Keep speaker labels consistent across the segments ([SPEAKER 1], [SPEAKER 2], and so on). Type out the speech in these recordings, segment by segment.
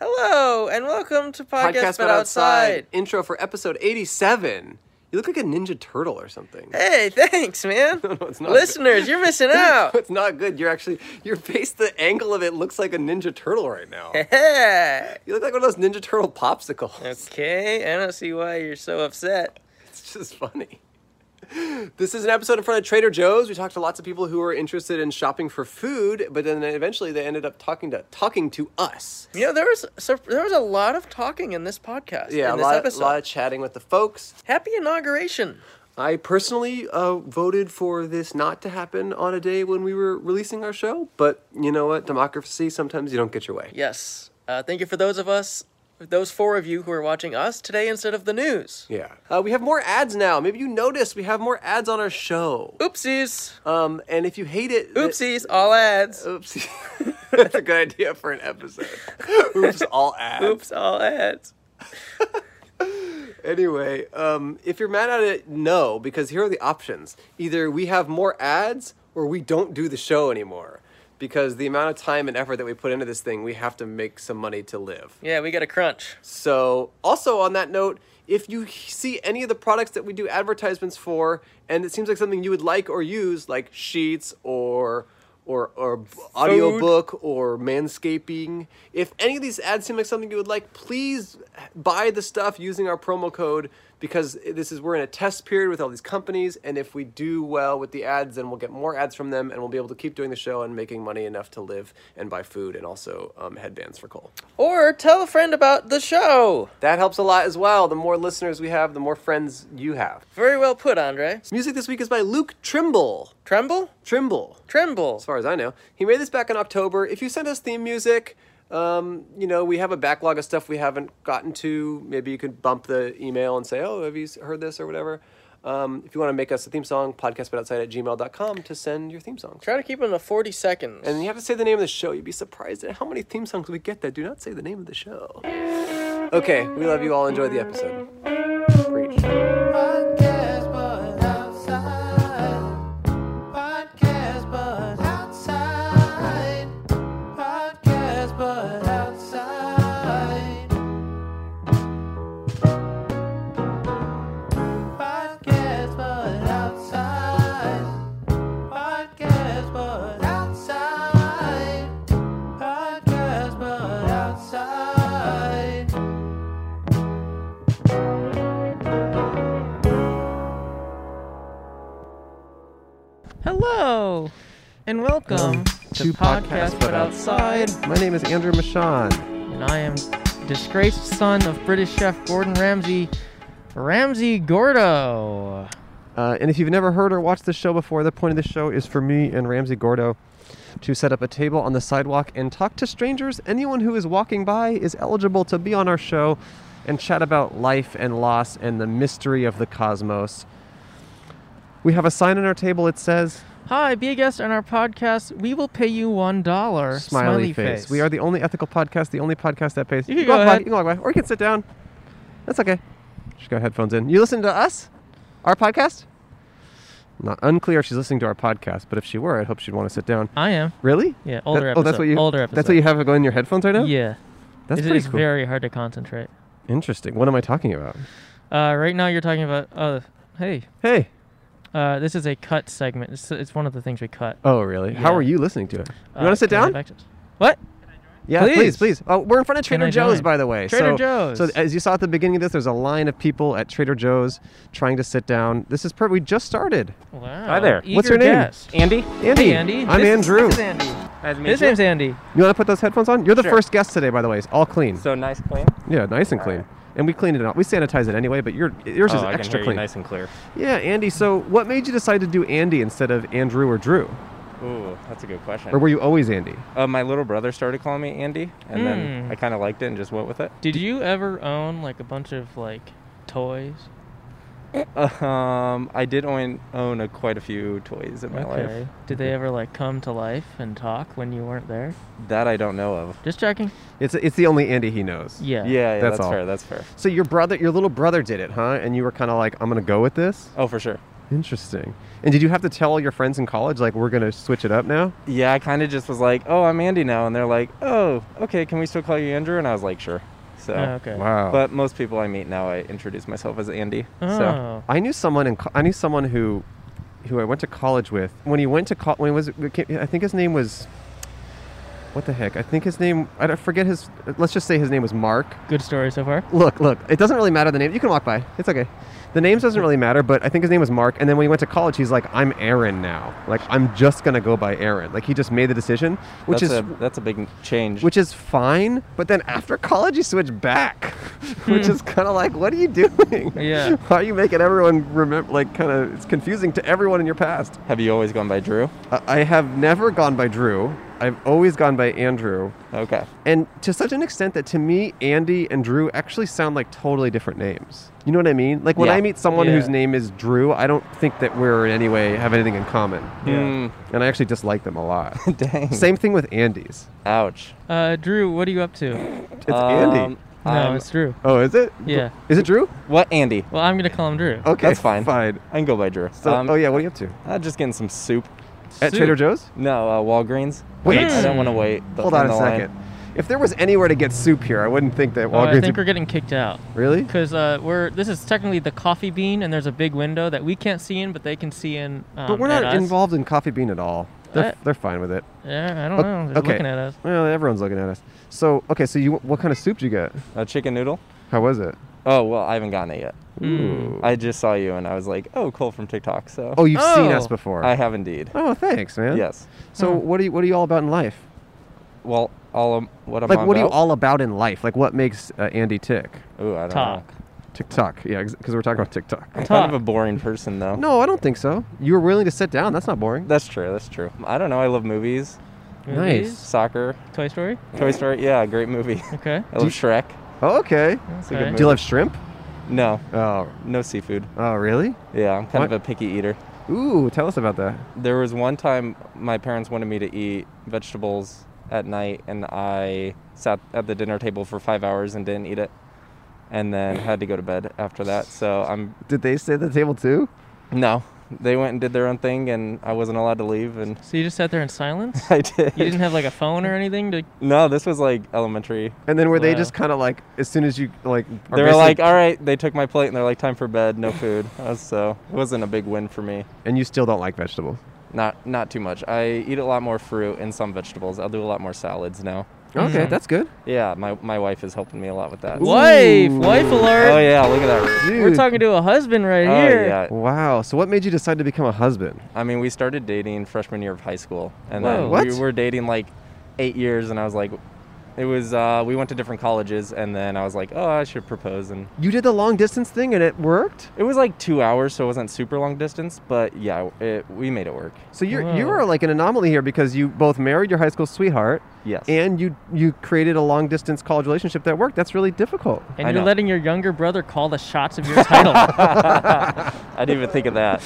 [SPEAKER 1] Hello and welcome to podcast,
[SPEAKER 2] Podcast
[SPEAKER 1] but
[SPEAKER 2] But
[SPEAKER 1] outside.
[SPEAKER 2] Intro for episode 87. You look like a Ninja Turtle or something.
[SPEAKER 1] Hey, thanks, man.
[SPEAKER 2] no, it's not.
[SPEAKER 1] Listeners, you're missing out.
[SPEAKER 2] it's not good. You're actually, your face, the angle of it looks like a Ninja Turtle right now.
[SPEAKER 1] Hey.
[SPEAKER 2] you look like one of those Ninja Turtle popsicles.
[SPEAKER 1] Okay, I don't see why you're so upset.
[SPEAKER 2] It's just funny. This is an episode in front of Trader Joe's. We talked to lots of people who were interested in shopping for food, but then eventually they ended up talking to talking to us.
[SPEAKER 1] You know, there was sur- there was a lot of talking in this podcast.
[SPEAKER 2] Yeah,
[SPEAKER 1] in
[SPEAKER 2] a
[SPEAKER 1] this
[SPEAKER 2] lot,
[SPEAKER 1] episode.
[SPEAKER 2] lot of chatting with the folks.
[SPEAKER 1] Happy inauguration.
[SPEAKER 2] I personally uh, voted for this not to happen on a day when we were releasing our show, but you know what? Democracy, sometimes you don't get your way.
[SPEAKER 1] Yes. Uh, thank you for those of us, those four of you who are watching us today instead of the news.
[SPEAKER 2] Yeah. Uh, we have more ads now. Maybe you noticed we have more ads on our show.
[SPEAKER 1] Oopsies.
[SPEAKER 2] Um, and if you hate it, th-
[SPEAKER 1] Oopsies. All ads.
[SPEAKER 2] Oops. That's a good idea for an episode. Oops, all ads.
[SPEAKER 1] Oops. All ads.
[SPEAKER 2] Anyway, um, if you're mad at it, no, because here are the options. Either we have more ads or we don't do the show anymore. Because the amount of time and effort that we put into this thing, we have to make some money to live.
[SPEAKER 1] Yeah, we got a crunch.
[SPEAKER 2] So, also on that note, if you see any of the products that we do advertisements for, and it seems like something you would like or use, like sheets or or or b- audiobook or manscaping, if any of these ads seem like something you would like, please buy the stuff using our promo code because this is we're in a test period with all these companies, and if we do well with the ads, then we'll get more ads from them, and we'll be able to keep doing the show and making money enough to live and buy food and also um, headbands for Cole.
[SPEAKER 1] Or tell a friend about the show.
[SPEAKER 2] That helps a lot as well. The more listeners we have, the more friends you have.
[SPEAKER 1] Very well put, Andre.
[SPEAKER 2] Music this week is by Luke Trimble.
[SPEAKER 1] Tremble?
[SPEAKER 2] Trimble,
[SPEAKER 1] Tremble.
[SPEAKER 2] as far as I know. He made this back in October. If you send us theme music, um, you know, we have a backlog of stuff we haven't gotten to. Maybe you could bump the email and say, oh, have you heard this or whatever. Um, if you want to make us a theme song, podcastbutoutside at gmail.com to send your theme songs.
[SPEAKER 1] Try to keep them to 40 seconds.
[SPEAKER 2] And you have to say the name of the show. You'd be surprised at how many theme songs we get that do not say the name of the show. Okay, we love you all. Enjoy the episode. Preach.
[SPEAKER 3] Podcast but outside. Podcast but outside. Podcast but outside. Podcast but outside. Podcast but outside. Podcast but outside.
[SPEAKER 1] Hello and
[SPEAKER 2] Um,
[SPEAKER 1] welcome to Podcast But Outside.
[SPEAKER 2] My name is Andrew Michon.
[SPEAKER 1] And I am disgraced son of British chef Gordon Ramsay, Ramsay Gordo.
[SPEAKER 2] Uh, and if you've never heard or watched the show before, the point of the show is for me and Ramsey Gordo to set up a table on the sidewalk and talk to strangers. Anyone who is walking by is eligible to be on our show and chat about life and loss and the mystery of the cosmos. We have a sign on our table. It says
[SPEAKER 1] Hi, be a guest on our podcast. We will pay you one dollar.
[SPEAKER 2] smiley, face. We are the only ethical podcast, the only podcast that pays.
[SPEAKER 1] You can go
[SPEAKER 2] walk by-
[SPEAKER 1] ahead.
[SPEAKER 2] you can walk by, or you can sit down. That's okay. She's got headphones in. You listen to us, our podcast. Not unclear if she's listening to our podcast, but if she were, I'd hope she'd want to sit down.
[SPEAKER 1] I am.
[SPEAKER 2] Really?
[SPEAKER 1] Yeah, older
[SPEAKER 2] Oh, that's
[SPEAKER 1] episode,
[SPEAKER 2] what you.
[SPEAKER 1] older
[SPEAKER 2] That's what
[SPEAKER 1] episode.
[SPEAKER 2] you have going in your headphones right now.
[SPEAKER 1] Yeah,
[SPEAKER 2] that's
[SPEAKER 1] it
[SPEAKER 2] pretty
[SPEAKER 1] is
[SPEAKER 2] cool.
[SPEAKER 1] very hard to concentrate.
[SPEAKER 2] Interesting. What am I talking about?
[SPEAKER 1] Uh, right now, you're talking about. Oh, hey,
[SPEAKER 2] Hey.
[SPEAKER 1] uh, this is a cut segment. It's, it's one of the things we cut.
[SPEAKER 2] Oh, really? How
[SPEAKER 1] Yeah.
[SPEAKER 2] are you listening to it? You
[SPEAKER 1] Uh,
[SPEAKER 2] want to sit
[SPEAKER 1] can I
[SPEAKER 2] down?
[SPEAKER 1] have access? What?
[SPEAKER 2] Yeah,
[SPEAKER 1] Please.
[SPEAKER 2] please, please. Oh, we're in front of Trader
[SPEAKER 1] I
[SPEAKER 2] Joe's,
[SPEAKER 1] join?
[SPEAKER 2] by the way.
[SPEAKER 1] Trader
[SPEAKER 2] so,
[SPEAKER 1] Joe's.
[SPEAKER 2] So as you saw at the beginning of this, there's a line of people at Trader Joe's trying to sit down. This is perfect. We just started.
[SPEAKER 1] Wow.
[SPEAKER 4] Hi there.
[SPEAKER 2] What's
[SPEAKER 1] eager
[SPEAKER 2] your name?
[SPEAKER 1] guest.
[SPEAKER 4] Andy?
[SPEAKER 2] Andy.
[SPEAKER 1] Hey, Andy.
[SPEAKER 2] I'm
[SPEAKER 1] This is-
[SPEAKER 2] Andrew.
[SPEAKER 1] This is Andy.
[SPEAKER 4] Nice to meet
[SPEAKER 1] His
[SPEAKER 4] you.
[SPEAKER 1] name's Andy.
[SPEAKER 2] you want to put those headphones on? You're the
[SPEAKER 4] Sure.
[SPEAKER 2] first guest today, by the way. It's all clean.
[SPEAKER 4] So nice, clean.
[SPEAKER 2] yeah, nice and clean. And we cleaned it up. We sanitize it anyway, but your yours
[SPEAKER 4] oh,
[SPEAKER 2] is
[SPEAKER 4] I can
[SPEAKER 2] extra
[SPEAKER 4] hear you
[SPEAKER 2] clean.
[SPEAKER 4] nice and clear.
[SPEAKER 2] Yeah, Andy. So what made you decide to do Andy instead of Andrew or Drew?
[SPEAKER 4] Ooh, that's a good question.
[SPEAKER 2] Or were you always Andy?
[SPEAKER 4] uh, my little brother started calling me Andy, and
[SPEAKER 1] Hmm.
[SPEAKER 4] then I kind of liked it and just went with it.
[SPEAKER 1] Did you ever own like a bunch of like toys?
[SPEAKER 4] Um, I did own, own a, quite a few toys in my life.
[SPEAKER 1] Did they ever like come to life and talk when you weren't there?
[SPEAKER 4] That I don't know of.
[SPEAKER 1] Just checking.
[SPEAKER 2] It's it's the only Andy he knows.
[SPEAKER 1] Yeah.
[SPEAKER 4] Yeah, yeah,
[SPEAKER 2] That's
[SPEAKER 4] that's,
[SPEAKER 2] all.
[SPEAKER 4] fair. That's fair.
[SPEAKER 2] So your brother, your little brother did it, huh? And you were kind of like, I'm gonna go with this.
[SPEAKER 4] Oh, for sure.
[SPEAKER 2] Interesting. And did you have to tell all your friends in college like we're gonna switch it up now?
[SPEAKER 4] Yeah, I kind of just was like, "Oh, I'm Andy now," and they're like, "Oh, okay. Can we still call you Andrew?" And I was like, "Sure." So.
[SPEAKER 5] Oh, okay.
[SPEAKER 2] Wow.
[SPEAKER 4] But most people I meet now, I introduce myself as Andy. So
[SPEAKER 5] Oh.
[SPEAKER 2] I knew someone in co- I knew someone who who I went to college with. When he went to college, when he was I think his name was what the heck? I think his name I don't- forget his. Let's just say his name was Mark.
[SPEAKER 5] Good story so far.
[SPEAKER 2] Look, look. It doesn't really matter the name. You can walk by. It's okay. The names doesn't really matter, but I think his name was Mark. And then when he went to college, he's like, "I'm Aaron now. Like, I'm just gonna go by Aaron." Like, he just made the decision, which
[SPEAKER 4] that's
[SPEAKER 2] is
[SPEAKER 4] a, that's a big change.
[SPEAKER 2] which is fine. But then after college, you switch back, which is kind of like, what are you doing?
[SPEAKER 5] Yeah.
[SPEAKER 2] Why are you making everyone remember? Like, kind of, it's confusing to everyone in your past.
[SPEAKER 4] have you always gone by Drew?
[SPEAKER 2] I I have never gone by Drew. I've always gone by Andrew,
[SPEAKER 4] Okay.
[SPEAKER 2] and to such an extent that to me, Andy and Drew actually sound like totally different names. You know what I mean? Like when
[SPEAKER 4] Yeah.
[SPEAKER 2] I meet someone
[SPEAKER 5] Yeah.
[SPEAKER 2] whose name is Drew, I don't think that we're in any way have anything in common,
[SPEAKER 4] Yeah.
[SPEAKER 2] and I actually dislike them a lot.
[SPEAKER 4] Dang.
[SPEAKER 2] Same thing with Andy's.
[SPEAKER 4] Ouch.
[SPEAKER 5] Uh, Drew, what are you up to?
[SPEAKER 2] It's Andy.
[SPEAKER 4] Um,
[SPEAKER 5] No,
[SPEAKER 4] I'm-
[SPEAKER 5] it's Drew.
[SPEAKER 2] Oh, is it?
[SPEAKER 5] Yeah.
[SPEAKER 2] Is it Drew?
[SPEAKER 4] what Andy?
[SPEAKER 5] Well, I'm gonna call him Drew.
[SPEAKER 2] Okay,
[SPEAKER 4] That's fine.
[SPEAKER 2] Fine.
[SPEAKER 4] I can go by Drew.
[SPEAKER 2] So,
[SPEAKER 4] um,
[SPEAKER 2] oh yeah, what are you up to?
[SPEAKER 4] I'm just getting some soup.
[SPEAKER 2] At
[SPEAKER 5] Soup.
[SPEAKER 2] Trader Joe's?
[SPEAKER 4] No, uh, Walgreens.
[SPEAKER 2] Wait.
[SPEAKER 4] I don't want to wait. the-
[SPEAKER 2] Hold on a
[SPEAKER 4] the line.
[SPEAKER 2] second. If there was anywhere to get soup here, I wouldn't think that
[SPEAKER 5] Oh,
[SPEAKER 2] Walgreens.
[SPEAKER 5] I think we're
[SPEAKER 2] would-
[SPEAKER 5] getting kicked out
[SPEAKER 2] really?
[SPEAKER 5] because uh, we're this is technically the coffee bean, and there's a big window that we can't see in, but they can see in. Um,
[SPEAKER 2] But we're
[SPEAKER 5] at
[SPEAKER 2] not
[SPEAKER 5] us.
[SPEAKER 2] involved in Coffee Bean at all. They're,
[SPEAKER 5] Uh,
[SPEAKER 2] they're fine with it.
[SPEAKER 5] Yeah, I don't know. They're
[SPEAKER 2] okay.
[SPEAKER 5] looking at us.
[SPEAKER 2] Well, everyone's looking at us. So okay, so you what kind of soup did you get?
[SPEAKER 4] A Uh, chicken noodle?
[SPEAKER 2] How was it?
[SPEAKER 4] Oh well, I haven't gotten it yet.
[SPEAKER 5] Hmm.
[SPEAKER 4] Mm.
[SPEAKER 2] Ooh.
[SPEAKER 4] I just saw you and I was like, oh, Cole from TikTok. So
[SPEAKER 2] Oh, you've seen us
[SPEAKER 5] Oh.
[SPEAKER 2] before.
[SPEAKER 4] I have indeed.
[SPEAKER 2] Oh, thanks, man.
[SPEAKER 4] Yes.
[SPEAKER 2] So
[SPEAKER 5] Huh.
[SPEAKER 2] what are you what are you all about in life?
[SPEAKER 4] Well, all of what I'm
[SPEAKER 2] Like
[SPEAKER 4] on
[SPEAKER 2] what are you
[SPEAKER 4] about-
[SPEAKER 2] all about in life? Like what makes uh, Andy tick?
[SPEAKER 4] Ooh, I
[SPEAKER 2] Oh,
[SPEAKER 4] don't
[SPEAKER 5] Talk.
[SPEAKER 4] know.
[SPEAKER 2] TikTok. Yeah, because we're talking about TikTok.
[SPEAKER 4] I'm kind of
[SPEAKER 5] Talk.
[SPEAKER 4] a boring person though.
[SPEAKER 2] No, I don't think so. You were willing to sit down. That's not boring.
[SPEAKER 4] That's true. That's true. I don't know. I love movies,
[SPEAKER 5] Movies?
[SPEAKER 4] soccer,
[SPEAKER 5] Toy Story.
[SPEAKER 4] Toy Story. Yeah, great movie.
[SPEAKER 5] Okay.
[SPEAKER 4] I love
[SPEAKER 2] you-
[SPEAKER 4] Shrek.
[SPEAKER 2] Oh, okay.
[SPEAKER 5] That's
[SPEAKER 4] a good
[SPEAKER 2] Do you love shrimp?
[SPEAKER 4] No,
[SPEAKER 2] Oh,
[SPEAKER 4] no seafood.
[SPEAKER 2] oh, really?
[SPEAKER 4] Yeah, I'm kind
[SPEAKER 2] What?
[SPEAKER 4] of a picky eater.
[SPEAKER 2] Ooh, tell us about that.
[SPEAKER 4] There was one time my parents wanted me to eat vegetables at night, and I sat at the dinner table for five hours and didn't eat it, and then had to go to bed after that. So I'm
[SPEAKER 2] Did they sit at the table too?
[SPEAKER 4] no. They went and did their own thing, and I wasn't allowed to leave, and
[SPEAKER 5] So you just sat there in silence.
[SPEAKER 4] I did.
[SPEAKER 5] You didn't have like a phone or anything to.
[SPEAKER 4] no, this was like elementary.
[SPEAKER 2] And then were they
[SPEAKER 5] Wow.
[SPEAKER 2] just kind of like, as soon as you like, are
[SPEAKER 4] They were like,
[SPEAKER 2] basically-
[SPEAKER 4] "All right." They took my plate, and they're like, "Time for bed. No food." I was- so it wasn't a big win for me.
[SPEAKER 2] and you still don't like vegetables?
[SPEAKER 4] Not not too much. I eat a lot more fruit and some vegetables. I'll do a lot more salads now.
[SPEAKER 2] Okay, that's good.
[SPEAKER 4] Yeah, my, my wife is helping me a lot with that.
[SPEAKER 5] Wife, wife
[SPEAKER 4] Oh
[SPEAKER 5] alert.
[SPEAKER 4] yeah, look at that.
[SPEAKER 5] We're talking to a husband right
[SPEAKER 4] Oh
[SPEAKER 5] here.
[SPEAKER 4] yeah.
[SPEAKER 2] Wow. So what made you decide to become a husband?
[SPEAKER 4] I mean, we started dating freshman year of high school, and
[SPEAKER 5] Whoa.
[SPEAKER 4] then we
[SPEAKER 2] What?
[SPEAKER 4] were dating like eight years, and I was like, it was uh, we went to different colleges, and then I was like, oh, I should propose, and
[SPEAKER 2] You did the long distance thing and it worked.
[SPEAKER 4] it was like two hours, so it wasn't super long distance, but yeah, it, we made it work.
[SPEAKER 2] So you're you
[SPEAKER 4] Oh.
[SPEAKER 5] Whoa.
[SPEAKER 2] are like an anomaly here because you both married your high school sweetheart
[SPEAKER 4] Yes.
[SPEAKER 2] and you you created a long distance college relationship that worked. That's really difficult.
[SPEAKER 5] And
[SPEAKER 4] I
[SPEAKER 5] you're
[SPEAKER 4] know.
[SPEAKER 5] letting your younger brother call the shots of your title.
[SPEAKER 4] I didn't even think of that.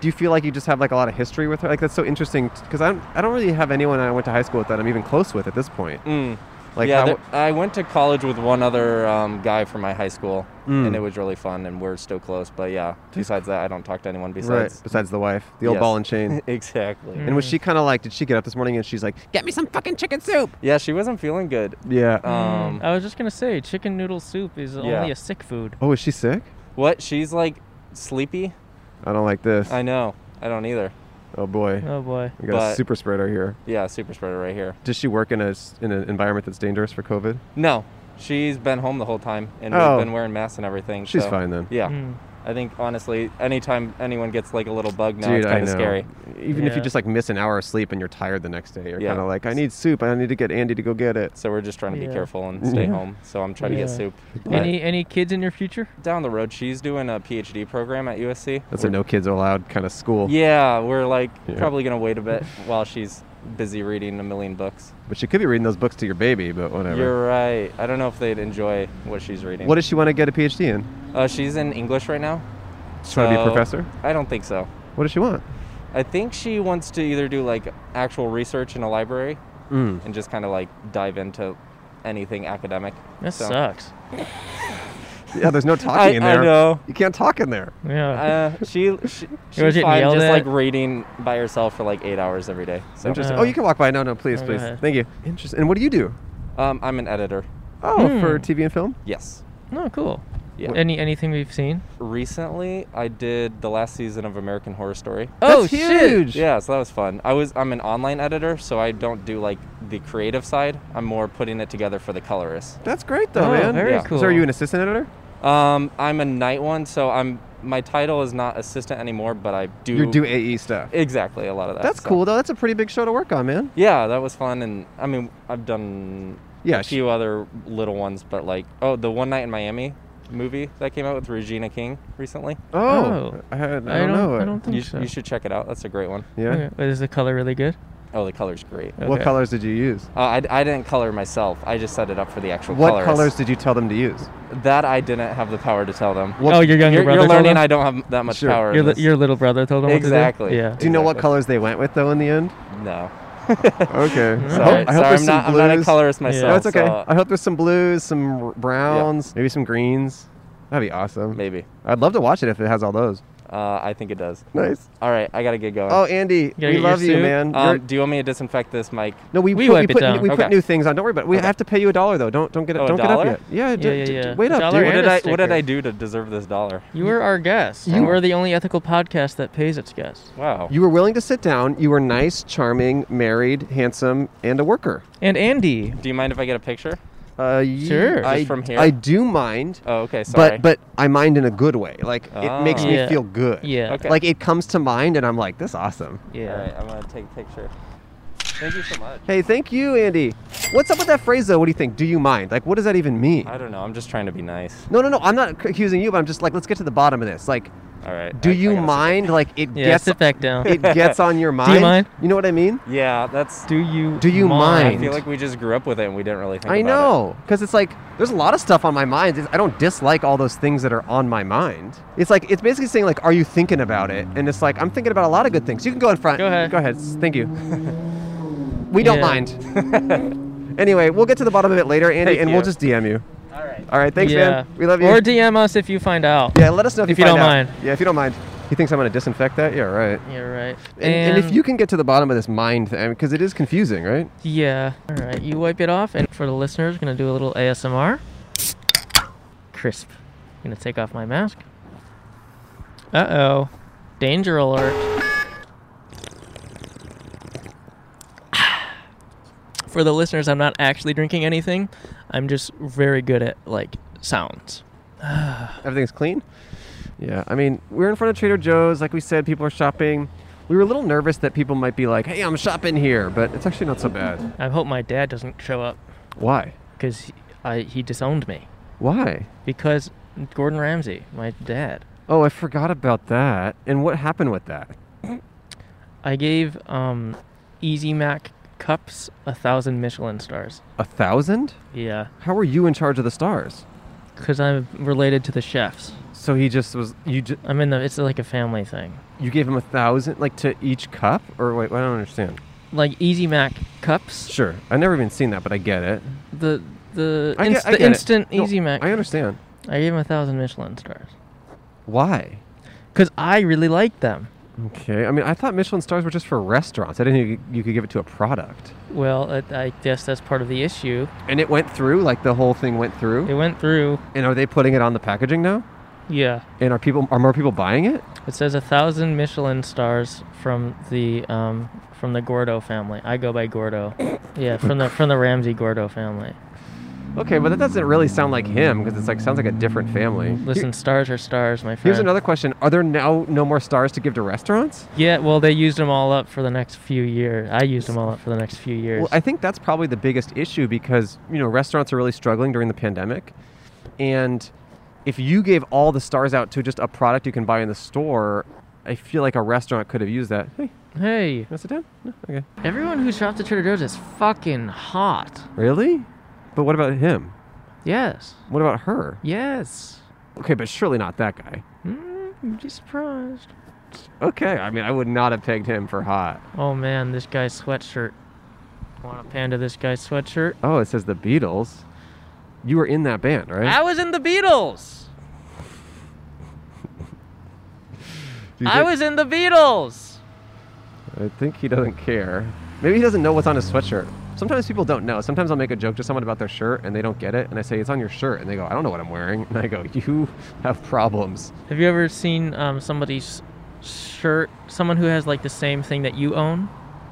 [SPEAKER 2] Do you feel like you just have like a lot of history with her? Like that's so interesting because I don't, I don't really have anyone I went to high school with that I'm even close with at this point.
[SPEAKER 4] Mm.
[SPEAKER 2] Like
[SPEAKER 4] yeah,
[SPEAKER 2] how-
[SPEAKER 4] there- I went to college with one other um, guy from my high school,
[SPEAKER 2] Mm.
[SPEAKER 4] and it was really fun, and we're still close. But yeah, besides that, I don't talk to anyone
[SPEAKER 2] right,
[SPEAKER 4] besides.
[SPEAKER 2] besides the wife, the old
[SPEAKER 4] Yes.
[SPEAKER 2] ball and chain.
[SPEAKER 4] exactly.
[SPEAKER 2] and was she kind of like? Did she get up this morning and she's like, "Get me some fucking chicken soup"?
[SPEAKER 4] Yeah, she wasn't feeling good.
[SPEAKER 2] Yeah.
[SPEAKER 4] Um,
[SPEAKER 5] I was just gonna say, chicken noodle soup is only a sick food.
[SPEAKER 2] oh, is she sick?
[SPEAKER 4] What? She's like sleepy.
[SPEAKER 2] I don't like this.
[SPEAKER 4] I know. I don't either.
[SPEAKER 2] oh boy,
[SPEAKER 5] Oh boy.
[SPEAKER 2] we got a
[SPEAKER 4] but-
[SPEAKER 2] super spreader here.
[SPEAKER 4] Yeah, super spreader right here.
[SPEAKER 2] Does she work in a s- in an environment that's dangerous for COVID?
[SPEAKER 4] No, she's been home the whole time, and
[SPEAKER 2] Oh.
[SPEAKER 4] we've been wearing masks and everything.
[SPEAKER 2] She's
[SPEAKER 4] so-
[SPEAKER 2] fine then.
[SPEAKER 4] Yeah.
[SPEAKER 5] Mm.
[SPEAKER 4] I think honestly, anytime anyone gets like a little bug now,
[SPEAKER 2] Dude,
[SPEAKER 4] it's
[SPEAKER 2] I
[SPEAKER 4] kind
[SPEAKER 2] know.
[SPEAKER 4] of scary.
[SPEAKER 2] Even if
[SPEAKER 5] Yeah.
[SPEAKER 2] you just like miss an hour of sleep and you're tired the next day, you're
[SPEAKER 4] Yeah.
[SPEAKER 2] kind of like, I need soup. I need to get Andy to go get it.
[SPEAKER 4] So we're just trying to
[SPEAKER 5] Yeah.
[SPEAKER 4] be careful and stay
[SPEAKER 2] Yeah.
[SPEAKER 4] home. So I'm trying to
[SPEAKER 5] Yeah.
[SPEAKER 4] get soup. But-
[SPEAKER 5] Any any kids in your future?
[SPEAKER 4] down the road, she's doing a PhD program at USC.
[SPEAKER 2] That's a no kids are allowed kind of school.
[SPEAKER 4] Yeah, we're like
[SPEAKER 2] Yeah.
[SPEAKER 4] probably gonna wait a bit while she's busy reading a million books.
[SPEAKER 2] But she could be reading those books to your baby, but whatever.
[SPEAKER 4] You're right. I don't know if they'd enjoy what she's reading.
[SPEAKER 2] what does she want to get a PhD in?
[SPEAKER 4] uh, she's in English right now.
[SPEAKER 2] She's trying to be a
[SPEAKER 4] So-
[SPEAKER 2] professor?
[SPEAKER 4] I don't think so.
[SPEAKER 2] What does she want?
[SPEAKER 4] I think she wants to either do like actual research in a library
[SPEAKER 5] Hmm.
[SPEAKER 2] Mm.
[SPEAKER 4] and just kind of like dive into anything academic.
[SPEAKER 5] That
[SPEAKER 4] So-
[SPEAKER 5] sucks.
[SPEAKER 2] Yeah, there's no talking
[SPEAKER 4] I,
[SPEAKER 2] in there.
[SPEAKER 4] I know.
[SPEAKER 2] You can't talk in there.
[SPEAKER 5] Yeah.
[SPEAKER 4] Uh, she she, she's
[SPEAKER 5] getting
[SPEAKER 4] fine
[SPEAKER 5] yelled
[SPEAKER 4] just
[SPEAKER 5] at?
[SPEAKER 4] like reading by herself for like eight hours every day. So
[SPEAKER 2] Interesting.
[SPEAKER 5] Uh,
[SPEAKER 2] oh, you can walk by. No, no, please,
[SPEAKER 5] oh, go
[SPEAKER 2] please.
[SPEAKER 5] ahead.
[SPEAKER 2] Thank you. Interesting. And what do you do?
[SPEAKER 4] um, I'm an editor.
[SPEAKER 2] Oh,
[SPEAKER 5] Hmm.
[SPEAKER 2] for TV and film.
[SPEAKER 4] Yes.
[SPEAKER 5] no, cool.
[SPEAKER 4] Yeah.
[SPEAKER 5] Any anything we've seen?
[SPEAKER 4] Recently, I did the last season of American Horror Story.
[SPEAKER 5] oh,
[SPEAKER 2] That's
[SPEAKER 5] shit.
[SPEAKER 2] huge.
[SPEAKER 4] Yeah, so that was fun. I was I'm an online editor, so I don't do like the creative side. I'm more putting it together for the colorists.
[SPEAKER 2] That's great, though,
[SPEAKER 5] Oh,
[SPEAKER 2] man.
[SPEAKER 5] very
[SPEAKER 4] Yeah.
[SPEAKER 5] cool.
[SPEAKER 2] So, are you an assistant editor?
[SPEAKER 4] Um, I'm a night one, so I'm my title is not assistant anymore, but I do
[SPEAKER 2] You do AE stuff.
[SPEAKER 4] exactly a lot of that.
[SPEAKER 2] That's
[SPEAKER 4] so-
[SPEAKER 2] cool, though. That's a pretty big show to work on, man.
[SPEAKER 4] Yeah, that was fun, and I mean I've done
[SPEAKER 2] Yeah,
[SPEAKER 4] a
[SPEAKER 2] sh-
[SPEAKER 4] few other little ones, but like oh the One Night in Miami movie that came out with Regina King recently.
[SPEAKER 2] Oh,
[SPEAKER 5] Oh.
[SPEAKER 2] I, had- I
[SPEAKER 5] I
[SPEAKER 2] don't know.
[SPEAKER 5] I don't think
[SPEAKER 4] You,
[SPEAKER 5] so.
[SPEAKER 4] you should check it out. That's a great one.
[SPEAKER 2] Yeah.
[SPEAKER 5] Okay. Is the color really good?
[SPEAKER 4] Oh, the color's great.
[SPEAKER 5] Yeah.
[SPEAKER 2] What
[SPEAKER 5] Okay.
[SPEAKER 2] colors did you use?
[SPEAKER 4] Uh, I, I didn't color myself. I just set it up for the actual
[SPEAKER 2] What
[SPEAKER 4] colorist.
[SPEAKER 2] colors did you tell them to use?
[SPEAKER 4] That I didn't have the power to tell them.
[SPEAKER 2] Well,
[SPEAKER 5] oh, your younger
[SPEAKER 4] You're,
[SPEAKER 5] brother.
[SPEAKER 4] you're
[SPEAKER 5] told
[SPEAKER 4] learning
[SPEAKER 5] him?
[SPEAKER 4] I don't have that much
[SPEAKER 2] Sure.
[SPEAKER 4] power. in
[SPEAKER 5] Your, li-
[SPEAKER 4] this.
[SPEAKER 5] your little brother told him what to do?
[SPEAKER 4] Exactly.
[SPEAKER 5] Yeah.
[SPEAKER 2] Do you know what
[SPEAKER 4] Exactly.
[SPEAKER 2] colors they went with, though, in the end?
[SPEAKER 4] no.
[SPEAKER 2] Okay.
[SPEAKER 5] All
[SPEAKER 2] So,
[SPEAKER 5] right.
[SPEAKER 2] I hope
[SPEAKER 4] Sorry,
[SPEAKER 2] there's
[SPEAKER 4] I'm
[SPEAKER 2] some
[SPEAKER 4] not, I'm
[SPEAKER 2] blues.
[SPEAKER 4] not a colorist
[SPEAKER 5] Yeah.
[SPEAKER 4] myself.
[SPEAKER 2] No, it's okay.
[SPEAKER 4] so
[SPEAKER 2] I hope there's some blues, some r- browns, maybe some greens. That'd be awesome.
[SPEAKER 4] maybe.
[SPEAKER 2] I'd love to watch it if it has all those.
[SPEAKER 4] Uh, I think it does.
[SPEAKER 2] Nice.
[SPEAKER 4] All right, I gotta get going.
[SPEAKER 2] Oh, Andy,
[SPEAKER 5] gotta
[SPEAKER 2] we
[SPEAKER 5] get your
[SPEAKER 2] love you,
[SPEAKER 5] suit.
[SPEAKER 2] man. You're-
[SPEAKER 4] um, do you want me to disinfect this mic?
[SPEAKER 2] no, we,
[SPEAKER 5] we
[SPEAKER 2] put,
[SPEAKER 5] wipe
[SPEAKER 2] we
[SPEAKER 5] it
[SPEAKER 2] put,
[SPEAKER 5] down.
[SPEAKER 2] we
[SPEAKER 4] Okay.
[SPEAKER 2] put new things on. Don't worry about it. We
[SPEAKER 4] Okay.
[SPEAKER 2] have to pay you a dollar though. Don't don't get it.
[SPEAKER 4] Oh, a
[SPEAKER 2] don't get up
[SPEAKER 4] dollar?
[SPEAKER 2] yet. Yeah, d-
[SPEAKER 5] yeah,
[SPEAKER 2] d-
[SPEAKER 5] yeah.
[SPEAKER 2] Wait up,
[SPEAKER 5] Dollar
[SPEAKER 2] dude.
[SPEAKER 4] What did
[SPEAKER 5] and a
[SPEAKER 4] I What did
[SPEAKER 5] sticker.
[SPEAKER 4] I do to deserve this dollar?
[SPEAKER 5] You were our guest. You
[SPEAKER 2] You-
[SPEAKER 5] were the only ethical podcast that pays its guests.
[SPEAKER 4] Wow.
[SPEAKER 2] You were willing to sit down. You were nice, charming, married, handsome, and a worker.
[SPEAKER 5] And Andy.
[SPEAKER 4] do you mind if I get a picture?
[SPEAKER 2] Uh, you-
[SPEAKER 5] Sure. Just
[SPEAKER 2] I,
[SPEAKER 4] from here?
[SPEAKER 2] I do mind,
[SPEAKER 4] Oh, okay. Sorry.
[SPEAKER 2] but but I mind in a good way. Like it makes me
[SPEAKER 5] Ah. Yeah.
[SPEAKER 2] feel good.
[SPEAKER 5] Yeah.
[SPEAKER 4] Okay.
[SPEAKER 2] Like it comes to mind, and I'm like, this is awesome.
[SPEAKER 5] Yeah.
[SPEAKER 4] All right, I'm gonna take a picture. Thank you so much.
[SPEAKER 2] Hey, thank you, Andy. What's up with that phrase though? What do you think? Do you mind? Like, what does that even mean?
[SPEAKER 4] I don't know. I'm just trying to be nice.
[SPEAKER 2] No, no, no. I'm not ac- accusing you, but I'm just like, let's get to the bottom of this. Like,
[SPEAKER 4] All right.
[SPEAKER 2] do
[SPEAKER 4] I- I
[SPEAKER 2] you
[SPEAKER 4] gotta sit-
[SPEAKER 2] mind? Like, it
[SPEAKER 5] Yeah,
[SPEAKER 2] gets
[SPEAKER 5] sit back down.
[SPEAKER 2] it gets on your mind.
[SPEAKER 5] mind?
[SPEAKER 2] You know what I mean?
[SPEAKER 4] Yeah, that's.
[SPEAKER 5] do you
[SPEAKER 2] Do you
[SPEAKER 4] I
[SPEAKER 2] mind?
[SPEAKER 4] feel like we just grew up with it and we didn't really think.
[SPEAKER 2] I
[SPEAKER 4] about it.
[SPEAKER 2] know, because it's like there's a lot of stuff on my mind. It's- I don't dislike all those things that are on my mind. It's like it's basically saying like, are you thinking about it? And it's like I'm thinking about a lot of good things. You can go in front.
[SPEAKER 5] Go ahead.
[SPEAKER 2] Go ahead. Thank you. we don't
[SPEAKER 5] Yeah.
[SPEAKER 2] mind. anyway, we'll get to the bottom of it later, Andy,
[SPEAKER 4] Thank
[SPEAKER 2] and we'll
[SPEAKER 4] you.
[SPEAKER 2] just DM you.
[SPEAKER 4] All right.
[SPEAKER 2] All right. Thanks,
[SPEAKER 5] yeah.
[SPEAKER 2] man. We love you.
[SPEAKER 5] Or DM us if you find out.
[SPEAKER 2] yeah. Let us know if,
[SPEAKER 5] if you
[SPEAKER 2] find
[SPEAKER 5] don't
[SPEAKER 2] out.
[SPEAKER 5] mind.
[SPEAKER 2] Yeah, if you don't mind. You thinks I'm gonna disinfect that? Yeah, right.
[SPEAKER 5] Yeah, right.
[SPEAKER 2] And, and, if you can get to the bottom of this mind thing, because it is confusing, right?
[SPEAKER 5] Yeah. All right. You wipe it off, and for the listeners, gonna do a little ASMR. Crisp. Gonna take off my mask. Uh oh. Danger alert. For the listeners, I'm not actually drinking anything. I'm just very good at like sounds.
[SPEAKER 2] Everything's clean. Yeah, I mean, we're in front of Trader Joe's. Like we said, people are shopping. We were a little nervous that people might be like, "Hey, I'm shopping here," but it's actually not so bad.
[SPEAKER 5] I hope my dad doesn't show up
[SPEAKER 2] Why?
[SPEAKER 5] because I he disowned me
[SPEAKER 2] Why?
[SPEAKER 5] because Gordon Ramsay, my dad.
[SPEAKER 2] Oh, I forgot about that. And what happened with that?
[SPEAKER 5] I gave um, Easy Mac cups a thousand Michelin stars.
[SPEAKER 2] A thousand?
[SPEAKER 5] Yeah,
[SPEAKER 2] How were you in charge of the stars?
[SPEAKER 5] because I'm related to the chefs.
[SPEAKER 2] So he just was you. Just,
[SPEAKER 5] I'm in the. It's like a family thing.
[SPEAKER 2] you gave him a thousand, like to each cup, or wait, I don't understand.
[SPEAKER 5] Like Easy Mac cups.
[SPEAKER 2] Sure, I never even seen that, but I get it.
[SPEAKER 5] The the,
[SPEAKER 2] I
[SPEAKER 5] inst-
[SPEAKER 2] get, I
[SPEAKER 5] the
[SPEAKER 2] get it.
[SPEAKER 5] instant
[SPEAKER 2] No,
[SPEAKER 5] Easy Mac.
[SPEAKER 2] I understand.
[SPEAKER 5] I gave him a thousand Michelin stars
[SPEAKER 2] Why?
[SPEAKER 5] because I really like them.
[SPEAKER 2] Okay, I mean, I thought Michelin stars were just for restaurants. I didn't think you- you could give it to a product.
[SPEAKER 5] Well, I, I guess that's part of the issue.
[SPEAKER 2] And it went through, like the whole thing went
[SPEAKER 5] It
[SPEAKER 2] through.
[SPEAKER 5] went through.
[SPEAKER 2] And are they putting it on the packaging now?
[SPEAKER 5] Yeah,
[SPEAKER 2] And are people are more people buying it?
[SPEAKER 5] it says a thousand Michelin stars from the um from the Gordo family. I go by Gordo. yeah, from the from the Ramsey Gordo family.
[SPEAKER 2] Okay, but that doesn't really sound like him because it's like sounds like a different family.
[SPEAKER 5] Listen,
[SPEAKER 2] Here-
[SPEAKER 5] stars are stars, my friend.
[SPEAKER 2] here's another question: Are there now no more stars to give to restaurants?
[SPEAKER 5] Yeah, well, they used them all up for the next few years. I used them all up for the next few years.
[SPEAKER 2] Well, I think that's probably the biggest issue because you know restaurants are really struggling during the pandemic, and if you gave all the stars out to just a product you can buy in the store, I feel like a restaurant could have used that. Hey,
[SPEAKER 5] hey,
[SPEAKER 2] want to sit down? No? Okay.
[SPEAKER 5] everyone who shops at Trader Joe's is fucking hot.
[SPEAKER 2] Really? But what about him?
[SPEAKER 5] Yes,
[SPEAKER 2] What about her?
[SPEAKER 5] yes.
[SPEAKER 2] Okay, but surely not that guy.
[SPEAKER 5] Mm, you'd be surprised.
[SPEAKER 2] Okay, I mean, I would not have pegged him for hot.
[SPEAKER 5] Oh man, this guy's sweatshirt. Want a panda? This guy's sweatshirt.
[SPEAKER 2] Oh, it says the Beatles. You were in that band, right?
[SPEAKER 5] I was in the Beatles.
[SPEAKER 2] Do you
[SPEAKER 5] I
[SPEAKER 2] think-
[SPEAKER 5] was in the Beatles.
[SPEAKER 2] I think he doesn't care. Maybe he doesn't know what's on his sweatshirt. Sometimes people don't know. Sometimes I'll make a joke to someone about their shirt and they don't get it, and I say it's on your shirt, and they go, "I don't know what I'm wearing," and I go, "You have problems."
[SPEAKER 5] Have you ever seen um, somebody's shirt? Someone who has like the same thing that you own.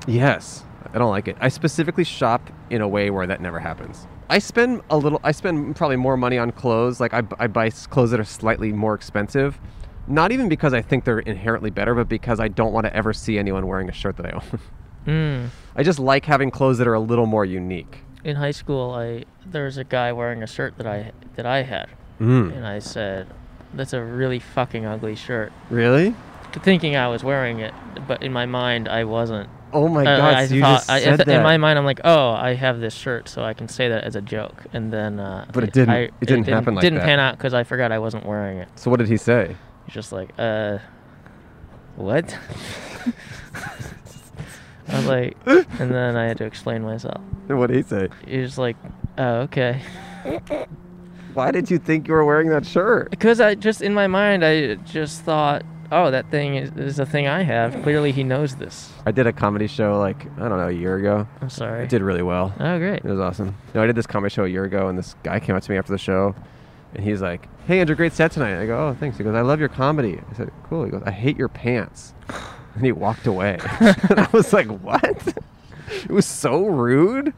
[SPEAKER 2] Yes, I don't like it. I specifically shop in a way where that never happens. I spend a little. I spend probably more money on clothes. Like I, I buy s- clothes that are slightly more expensive. Not even because I think they're inherently better, but because I don't want to ever see anyone wearing a shirt that I own.
[SPEAKER 5] Mm.
[SPEAKER 2] I just like having clothes that are a little more unique.
[SPEAKER 5] In high school, I there was a guy wearing a shirt that I that I had,
[SPEAKER 2] Mm.
[SPEAKER 5] and I said, "That's a really fucking ugly shirt."
[SPEAKER 2] Really?
[SPEAKER 5] Thinking I was wearing it, but in my mind I wasn't.
[SPEAKER 2] Oh my
[SPEAKER 5] Uh,
[SPEAKER 2] god,
[SPEAKER 5] I
[SPEAKER 2] so you
[SPEAKER 5] thought-
[SPEAKER 2] just
[SPEAKER 5] I-
[SPEAKER 2] said
[SPEAKER 5] if-
[SPEAKER 2] that.
[SPEAKER 5] In my mind, I'm like, "Oh, I have this shirt, so I can say that as a joke." And then, uh,
[SPEAKER 2] But it
[SPEAKER 5] I-
[SPEAKER 2] didn't-
[SPEAKER 5] I-
[SPEAKER 2] it didn't happen like
[SPEAKER 5] didn't
[SPEAKER 2] that.
[SPEAKER 5] pan out because I forgot I wasn't wearing it.
[SPEAKER 2] so what did he say?
[SPEAKER 5] It's just like, uh, what? I was like, and then I had to explain myself.
[SPEAKER 2] What did he say?
[SPEAKER 5] He was like, oh, okay.
[SPEAKER 2] Why did you think you were wearing that shirt?
[SPEAKER 5] Because I just, in my mind, I just thought, oh, that thing is, is a thing I have. Clearly he knows this.
[SPEAKER 2] I did a comedy show like I don't know a year ago.
[SPEAKER 5] I'm sorry.
[SPEAKER 2] I did really well.
[SPEAKER 5] Oh, great.
[SPEAKER 2] It was awesome. No, I did this comedy show a year ago, and this guy came up to me after the show, and he's like, "Hey, Andrew, great set tonight." I go, "Oh, thanks." He goes, "I love your comedy." I said, "Cool." He goes, "I hate your pants," and he walked away. and I was like, "What?" It was so rude,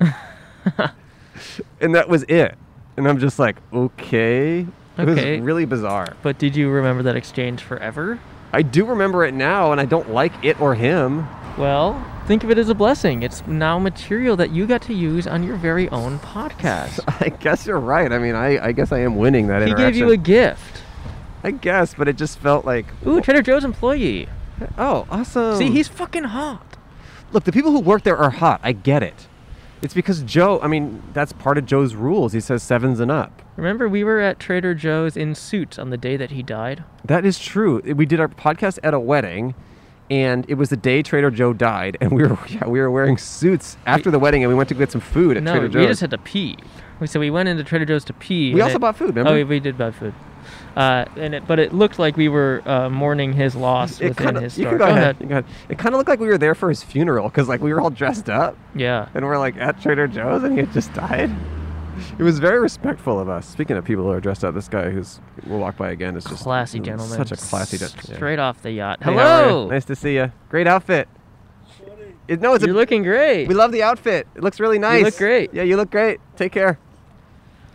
[SPEAKER 2] and that was it. And I'm just like, "Okay." It was
[SPEAKER 5] Okay.
[SPEAKER 2] really bizarre.
[SPEAKER 5] But did you remember that exchange forever?
[SPEAKER 2] I do remember it now, and I don't like it or him.
[SPEAKER 5] Well, think of it as a blessing. It's now material that you got to use on your very own podcast.
[SPEAKER 2] I guess you're right. I mean, I, I guess I am winning that
[SPEAKER 5] he
[SPEAKER 2] interaction.
[SPEAKER 5] gave you a gift.
[SPEAKER 2] I guess, but it just felt like,
[SPEAKER 5] Ooh, Trader Joe's employee.
[SPEAKER 2] oh, awesome.
[SPEAKER 5] See, he's fucking hot.
[SPEAKER 2] look. The people who work there are hot. I get it. It's because Joe. I mean, that's part of Joe's rules. He says sevens and up.
[SPEAKER 5] Remember, we were at Trader Joe's in suits on the day that he died?
[SPEAKER 2] That is true. We did our podcast at a wedding, and it was the day Trader Joe died, and we were yeah, we were wearing suits after the wedding, and we went to get some food at
[SPEAKER 5] no,
[SPEAKER 2] Trader
[SPEAKER 5] we
[SPEAKER 2] Joe's.
[SPEAKER 5] just had to pee. We- So we went into Trader Joe's to pee.
[SPEAKER 2] We
[SPEAKER 5] and
[SPEAKER 2] also
[SPEAKER 5] it-
[SPEAKER 2] bought food, remember?
[SPEAKER 5] Oh, we, we did buy food. Uh, and it, but it looked like we were uh, mourning his loss
[SPEAKER 2] it
[SPEAKER 5] within
[SPEAKER 2] kind of
[SPEAKER 5] his
[SPEAKER 2] you
[SPEAKER 5] story.
[SPEAKER 2] can go, ahead. you can go ahead. It kind of looked like we were there for his funeral because like we were all dressed up.
[SPEAKER 5] Yeah.
[SPEAKER 2] and we're like at Trader Joe's, and he had just died. It was very respectful of us. Speaking of people who are dressed up, this guy who's we'll walk by again is just
[SPEAKER 5] Classy gentleman.
[SPEAKER 2] Such a classy gentleman.
[SPEAKER 5] Straight off the yacht.
[SPEAKER 2] Hey, how are you?
[SPEAKER 5] Hello.
[SPEAKER 2] nice to see you. Great outfit. It- no, it's
[SPEAKER 5] You're
[SPEAKER 2] a,
[SPEAKER 5] looking great.
[SPEAKER 2] we love the outfit. It looks really nice.
[SPEAKER 5] look great.
[SPEAKER 2] Yeah, you look great. Take care.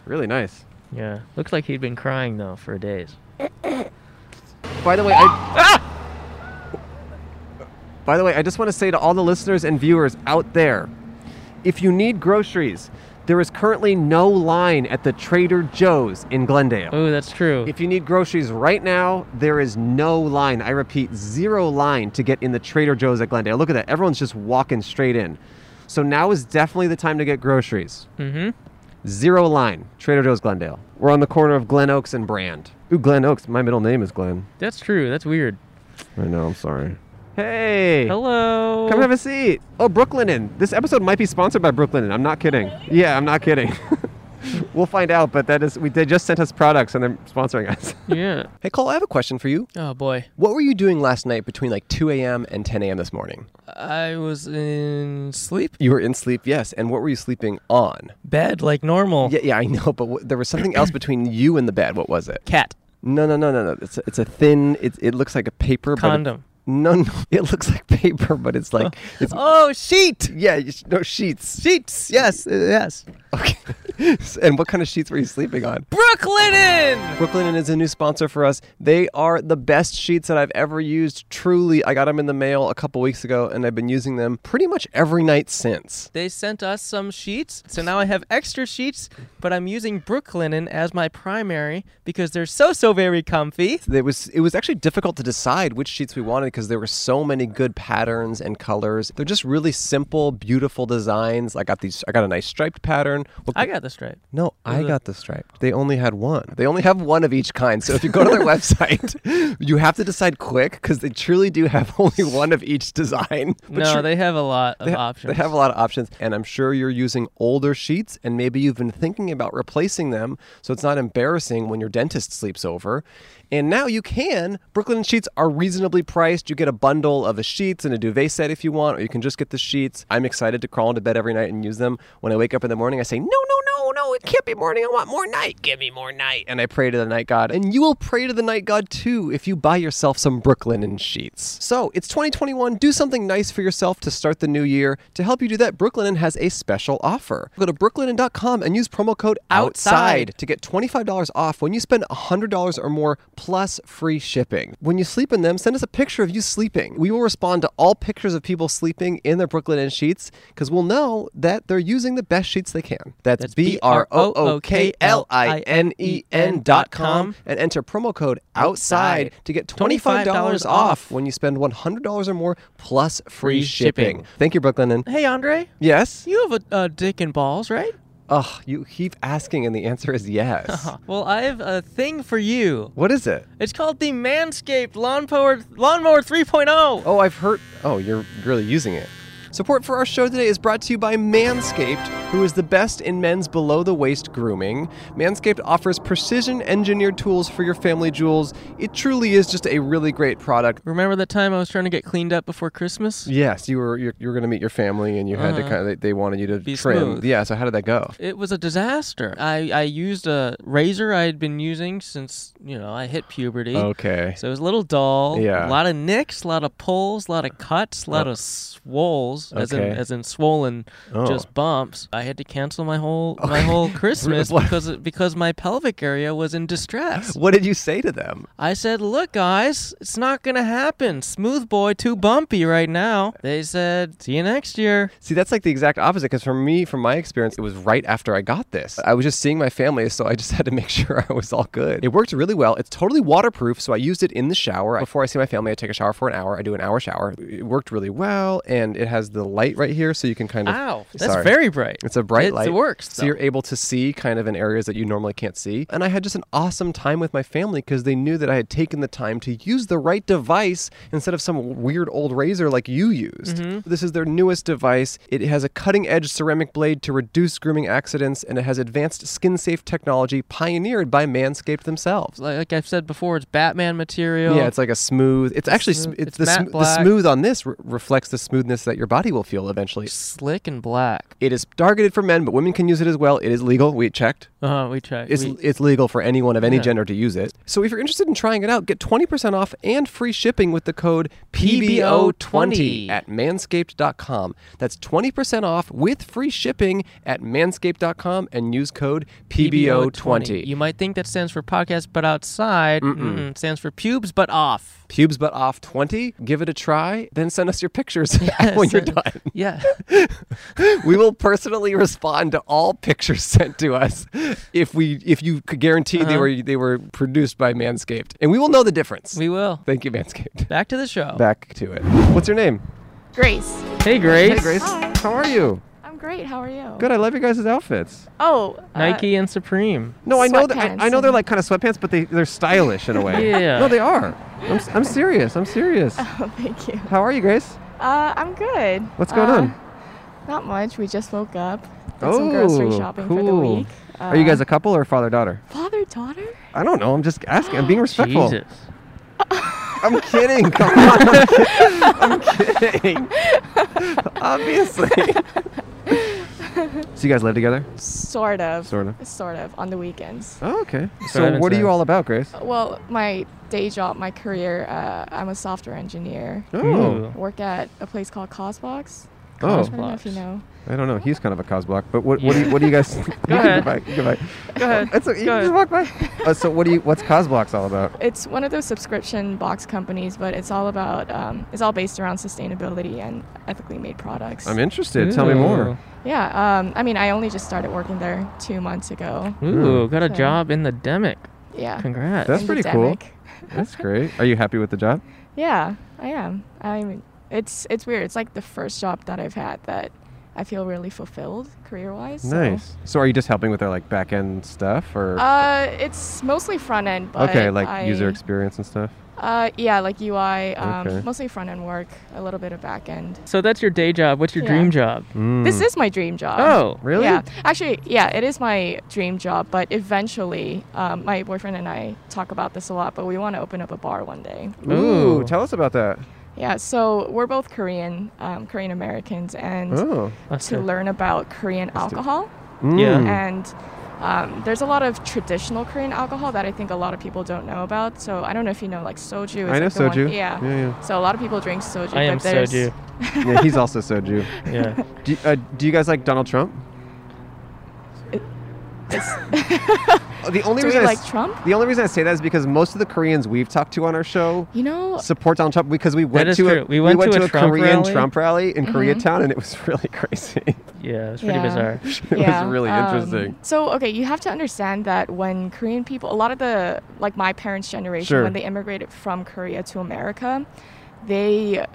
[SPEAKER 2] Really nice.
[SPEAKER 5] yeah. Looks like he'd been crying though for days.
[SPEAKER 2] By the way, I.
[SPEAKER 5] Ah!
[SPEAKER 2] By the way, I just want to say to all the listeners and viewers out there if you need groceries, there is currently no line at the Trader Joe's in Glendale.
[SPEAKER 5] Oh, that's true.
[SPEAKER 2] If you need groceries right now, there is no line. I repeat, zero line to get in the Trader Joe's at Glendale. Look at that. Everyone's just walking straight in. So now is definitely the time to get groceries.
[SPEAKER 5] mm-hmm.
[SPEAKER 2] Zero line, Trader Joe's Glendale. We're on the corner of Glen Oaks and Brand. Ooh, Glen Oaks. My middle name is Glen.
[SPEAKER 5] That's true. That's weird.
[SPEAKER 2] I know, I'm sorry. Hey!
[SPEAKER 5] Hello.
[SPEAKER 2] Come have a seat. Oh, Brooklinen. This episode might be sponsored by Brooklinen. I'm not kidding. Yeah, I'm not kidding. we'll find out, but that is we they just sent us products and they're sponsoring us.
[SPEAKER 5] yeah.
[SPEAKER 6] Hey, Cole, I have a question for you.
[SPEAKER 5] Oh boy.
[SPEAKER 6] What were you doing last night between like 2 a.m. and 10 a.m. this morning?
[SPEAKER 5] I was in sleep
[SPEAKER 6] You were in sleep, yes. And what were you sleeping on?
[SPEAKER 5] bed like normal.
[SPEAKER 6] Yeah, yeah, I know, but what, there was something else between you and the bed. What was it?
[SPEAKER 5] Cat.
[SPEAKER 6] No, no, no, no, no. It's a, it's a thin. It, it looks like a paper. but it-
[SPEAKER 5] Condom.
[SPEAKER 6] no, no, it looks like paper, but it's like it's
[SPEAKER 5] Oh, sheet.
[SPEAKER 6] yeah, you sh- no sheets, sheets. Yes, uh, yes. Okay. and what kind of sheets were you sleeping on?
[SPEAKER 5] Brooklinen.
[SPEAKER 6] Brooklinen is a new sponsor for us. They are the best sheets that I've ever used. Truly, I got them in the mail a couple weeks ago, and I've been using them pretty much every night since.
[SPEAKER 5] They sent us some sheets, so now I have extra sheets, but I'm using Brooklinen as my primary because they're so so very comfy.
[SPEAKER 6] It was it was actually difficult to decide which sheets we wanted because there were so many good patterns and colors. They're just really simple, beautiful designs. I got these. I got a nice striped pattern. What-
[SPEAKER 5] I got the stripe.
[SPEAKER 6] no, I
[SPEAKER 5] a-
[SPEAKER 6] got the striped. They only
[SPEAKER 2] had one. They only have one of each kind. So if you go to their website, you have to decide quick because they truly do have only one of each design. But
[SPEAKER 1] no,
[SPEAKER 2] you're-
[SPEAKER 1] they have a lot of
[SPEAKER 2] they ha-
[SPEAKER 1] options.
[SPEAKER 2] They have a lot of options, and I'm sure you're using older sheets, and maybe you've been thinking about replacing them so it's not embarrassing when your dentist sleeps over. And now you can. Brooklyn sheets are reasonably priced. You get a bundle of the sheets and a duvet set if you want, or you can just get the sheets. I'm excited to crawl into bed every night and use them. When I wake up in the morning, I say, No, no, no, no, it can't be morning. I want more night. Give me more night. And I pray to the night god. And you will pray to the night god too if you buy yourself some Brooklyn and sheets. So it's 2021. Do something nice for yourself to start the new year. To help you do that, Brooklyn has a special offer. Go to brooklinen.com and use promo code
[SPEAKER 1] Outside.
[SPEAKER 2] outside to get $25 off when you spend $100 or more plus free shipping. When you sleep in them, send us a picture of you sleeping. We will respond to all pictures of people sleeping in their Brooklyn Inn sheets because we'll know that they're using the best sheets they can. That's,
[SPEAKER 1] That's
[SPEAKER 2] B R O O K L I N E N dot com and enter promo code outside to get $25 off when you spend $100 or more plus free
[SPEAKER 1] Free shipping.
[SPEAKER 2] shipping. Thank you, Brooklyn Inn.
[SPEAKER 1] Hey, Andre,
[SPEAKER 2] Yes?
[SPEAKER 1] you have a uh, dick and balls, right?
[SPEAKER 2] Ugh, you keep asking, and the answer is yes.
[SPEAKER 1] Well, I have a thing for you.
[SPEAKER 2] What is it?
[SPEAKER 1] It's called the Manscaped Lawnmower Lawnmower 3.0.
[SPEAKER 2] Oh, I've heard. Oh, you're really using it. Support for our show today is brought to you by Manscaped, who is the best in men's below the waist grooming. Manscaped offers precision engineered tools for your family jewels. It truly is just a really great product.
[SPEAKER 1] Remember that time I was trying to get cleaned up before Christmas?
[SPEAKER 2] Yes, you were you're, you were going to meet your family, and you had to
[SPEAKER 1] Uh-huh.
[SPEAKER 2] kind of they, they wanted you to
[SPEAKER 1] Be
[SPEAKER 2] trim.
[SPEAKER 1] smooth.
[SPEAKER 2] Yeah. So how did that go?
[SPEAKER 1] It was a disaster. I, I used a razor I had been using since, you know, I hit puberty.
[SPEAKER 2] Okay.
[SPEAKER 1] So it was a little dull.
[SPEAKER 2] Oh. Yeah.
[SPEAKER 1] A
[SPEAKER 2] Oh.
[SPEAKER 1] lot of nicks, a lot of pulls, a lot of cuts, a lot of swoles, as in
[SPEAKER 2] Okay. Oh.
[SPEAKER 1] as in swollen, just bumps. I had to cancel my whole my whole Christmas
[SPEAKER 2] What?
[SPEAKER 1] because it- because my pelvic area was in distress.
[SPEAKER 2] What did you say to them?
[SPEAKER 1] I said, "Look, guys, it's not gonna happen. Smooth boy, too bumpy right now." They said, "See you next year."
[SPEAKER 2] See, that's like the exact opposite. Because for me, from my experience, it was right after I got this. I was just seeing my family, so I just had to make sure I was all good. It worked really well. It's totally waterproof, so I used it in the shower. Before I see my family, I take a shower for an hour. I do an hour shower. It worked really well, and it has the light right here, so you can kind of.
[SPEAKER 1] Ow, that's
[SPEAKER 2] Sorry.
[SPEAKER 1] very bright.
[SPEAKER 2] It's a bright
[SPEAKER 1] It's-
[SPEAKER 2] light.
[SPEAKER 1] It works.
[SPEAKER 2] So you're
[SPEAKER 1] though.
[SPEAKER 2] able to see kind of in areas that you normally can't see. And I had just an awesome time with my family because they knew that I had taken the time to use the right device instead of some weird old razor like you used.
[SPEAKER 1] Mm-hmm.
[SPEAKER 2] This is their newest device. It has a cutting edge ceramic blade to reduce grooming accidents, and it has advanced skin safe technology pioneered by Manscaped themselves.
[SPEAKER 1] like, like I've said before, it's Batman material.
[SPEAKER 2] Yeah, it's like a smooth. It's actually sm-
[SPEAKER 1] smooth-
[SPEAKER 2] it's,
[SPEAKER 1] it's
[SPEAKER 2] the,
[SPEAKER 1] matte
[SPEAKER 2] sm- the
[SPEAKER 1] black.
[SPEAKER 2] smooth on this re- reflects the smoothness that your body will feel eventually.
[SPEAKER 1] slick and black.
[SPEAKER 2] It is targeted for men, but women can use it as well. It is legal. Uh-huh, We checked.
[SPEAKER 1] Uh, we checked.
[SPEAKER 2] It's,
[SPEAKER 1] we-
[SPEAKER 2] it's legal for anyone of any
[SPEAKER 1] Yeah.
[SPEAKER 2] gender to use it. So if you're interested in trying it out, get 20% off and free shipping with the code PBO20 at manscaped.com. That's 20% off with free shipping at manscaped.com and use code PBO20.
[SPEAKER 1] You might think that stands for podcast, but outside mm, it stands for pubes, but off.
[SPEAKER 2] Pubes but off 20. Give it a try, then send us your pictures when you're done.
[SPEAKER 1] Yeah.
[SPEAKER 2] we will personally respond to all pictures sent to us if we if you could guarantee
[SPEAKER 1] Uh-huh.
[SPEAKER 2] they were they were produced by Manscaped. And we will know the difference.
[SPEAKER 1] we will.
[SPEAKER 2] Thank you, Manscaped.
[SPEAKER 1] Back to the show.
[SPEAKER 2] Back to it. What's your name?
[SPEAKER 7] Grace.
[SPEAKER 1] Hey, Grace.
[SPEAKER 2] Hey, Grace.
[SPEAKER 7] Hi.
[SPEAKER 2] How are you?
[SPEAKER 7] I'm great. How are you?
[SPEAKER 2] Good. I love your guys' outfits.
[SPEAKER 7] Oh, uh,
[SPEAKER 1] Nike and Supreme.
[SPEAKER 2] No, I know that. I,
[SPEAKER 7] Sweatpants
[SPEAKER 2] I know they're
[SPEAKER 7] and-
[SPEAKER 2] like kind of sweatpants, but they they're stylish in a way.
[SPEAKER 1] Yeah.
[SPEAKER 2] No, they are. I'm, s- I'm serious. I'm serious.
[SPEAKER 7] Oh, thank you.
[SPEAKER 2] How are you, Grace?
[SPEAKER 7] Uh, I'm good.
[SPEAKER 2] What's going
[SPEAKER 7] Uh,
[SPEAKER 2] on?
[SPEAKER 7] Not much. We just woke up. Did some grocery
[SPEAKER 2] Oh,
[SPEAKER 7] shopping for the
[SPEAKER 2] cool.
[SPEAKER 7] week. Uh,
[SPEAKER 2] are you guys a couple or father daughter?
[SPEAKER 7] father daughter?
[SPEAKER 2] I don't know. I'm just asking. I'm being respectful.
[SPEAKER 1] Jesus.
[SPEAKER 2] I'm kidding. Come on. I'm kidding. Obviously. so you guys live together?
[SPEAKER 7] Sort of.
[SPEAKER 2] Sort of.
[SPEAKER 7] Sort of on the weekends.
[SPEAKER 2] Oh, okay. So
[SPEAKER 1] Driving
[SPEAKER 2] what are you
[SPEAKER 1] times.
[SPEAKER 2] all about, Grace?
[SPEAKER 7] Well, my day job, my career, uh, I'm a software engineer.
[SPEAKER 2] Oh.
[SPEAKER 7] I work at a place called Cosbox. I
[SPEAKER 2] Oh.
[SPEAKER 7] don't know if you
[SPEAKER 1] Cosbox.
[SPEAKER 7] know.
[SPEAKER 2] I don't know. He's kind of a cos block, but what, what, do you, what do you guys? you can
[SPEAKER 1] ahead.
[SPEAKER 2] Go, by, you go, by.
[SPEAKER 1] Go ahead.
[SPEAKER 2] It's okay, you can just walk by. Uh, so what do you? What's cos blocks all about?
[SPEAKER 7] It's one of those subscription box companies, but it's all about, um, it's all based around sustainability and ethically made products.
[SPEAKER 2] I'm interested. Tell me more.
[SPEAKER 7] Yeah, um, I mean, I only just started working there two months ago.
[SPEAKER 1] Ooh, got a
[SPEAKER 7] So-
[SPEAKER 1] job in the demic.
[SPEAKER 7] Yeah.
[SPEAKER 1] Congrats.
[SPEAKER 2] Hmm. That's
[SPEAKER 7] in
[SPEAKER 2] pretty
[SPEAKER 7] the
[SPEAKER 2] cool.
[SPEAKER 7] Demic.
[SPEAKER 2] That's great. Are you happy with the job?
[SPEAKER 7] Yeah, I am. I mean, it's it's weird. It's like the first job that I've had that I feel really fulfilled career wise.
[SPEAKER 2] Nice. So are you just helping with their like back end stuff or
[SPEAKER 7] Uh, it's mostly front end, but
[SPEAKER 2] okay, like
[SPEAKER 7] I-
[SPEAKER 2] user experience and stuff?
[SPEAKER 7] Uh, yeah, like UI. Um,
[SPEAKER 2] Okay.
[SPEAKER 7] Mostly front end work, a little bit of back end.
[SPEAKER 5] So that's your day job. What's your
[SPEAKER 7] Yeah.
[SPEAKER 5] dream job?
[SPEAKER 7] This is my dream job.
[SPEAKER 5] Oh,
[SPEAKER 2] Hmm. Really?
[SPEAKER 7] Yeah, actually, yeah, it is my dream job. But eventually, um, my boyfriend and I talk about this a lot. But we want to open up a bar one day.
[SPEAKER 5] Ooh.
[SPEAKER 2] tell us about that.
[SPEAKER 7] Yeah, so we're both Korean, um, Korean Americans, and
[SPEAKER 2] Oh.
[SPEAKER 5] That's
[SPEAKER 7] to
[SPEAKER 5] it.
[SPEAKER 7] learn about Korean alcohol.
[SPEAKER 2] Hmm.
[SPEAKER 5] Yeah.
[SPEAKER 7] And um, there's a lot of traditional Korean alcohol that I think a lot of people don't know about. So I don't know if you know, like soju. Is
[SPEAKER 2] I know
[SPEAKER 7] like the
[SPEAKER 2] soju.
[SPEAKER 7] One, yeah.
[SPEAKER 2] Yeah, yeah.
[SPEAKER 7] So a lot of people drink soju.
[SPEAKER 5] I am
[SPEAKER 7] but there's,
[SPEAKER 5] soju.
[SPEAKER 2] Hmm. yeah, he's also soju.
[SPEAKER 5] Yeah.
[SPEAKER 2] Do, you- uh, do you guys like Donald Trump? Oh, the only
[SPEAKER 7] Do we
[SPEAKER 2] reason I s-
[SPEAKER 7] like Trump?
[SPEAKER 2] The only reason I say that is because most of the Koreans we've talked to on our show
[SPEAKER 7] You know,
[SPEAKER 2] support Donald Trump because we went
[SPEAKER 5] is
[SPEAKER 2] to
[SPEAKER 5] true.
[SPEAKER 2] a
[SPEAKER 5] We went to a Trump
[SPEAKER 2] Korean
[SPEAKER 5] rally.
[SPEAKER 2] Trump rally in
[SPEAKER 7] Mm-hmm.
[SPEAKER 2] Koreatown and it was really crazy.
[SPEAKER 5] Yeah. It's pretty
[SPEAKER 7] Yeah.
[SPEAKER 5] bizarre.
[SPEAKER 2] it
[SPEAKER 7] yeah.
[SPEAKER 2] was really
[SPEAKER 7] um,
[SPEAKER 2] interesting.
[SPEAKER 7] So okay, you have to understand that when Korean people, a lot of the like my parents' generation,
[SPEAKER 2] Sure.
[SPEAKER 7] when they immigrated from Korea to America, they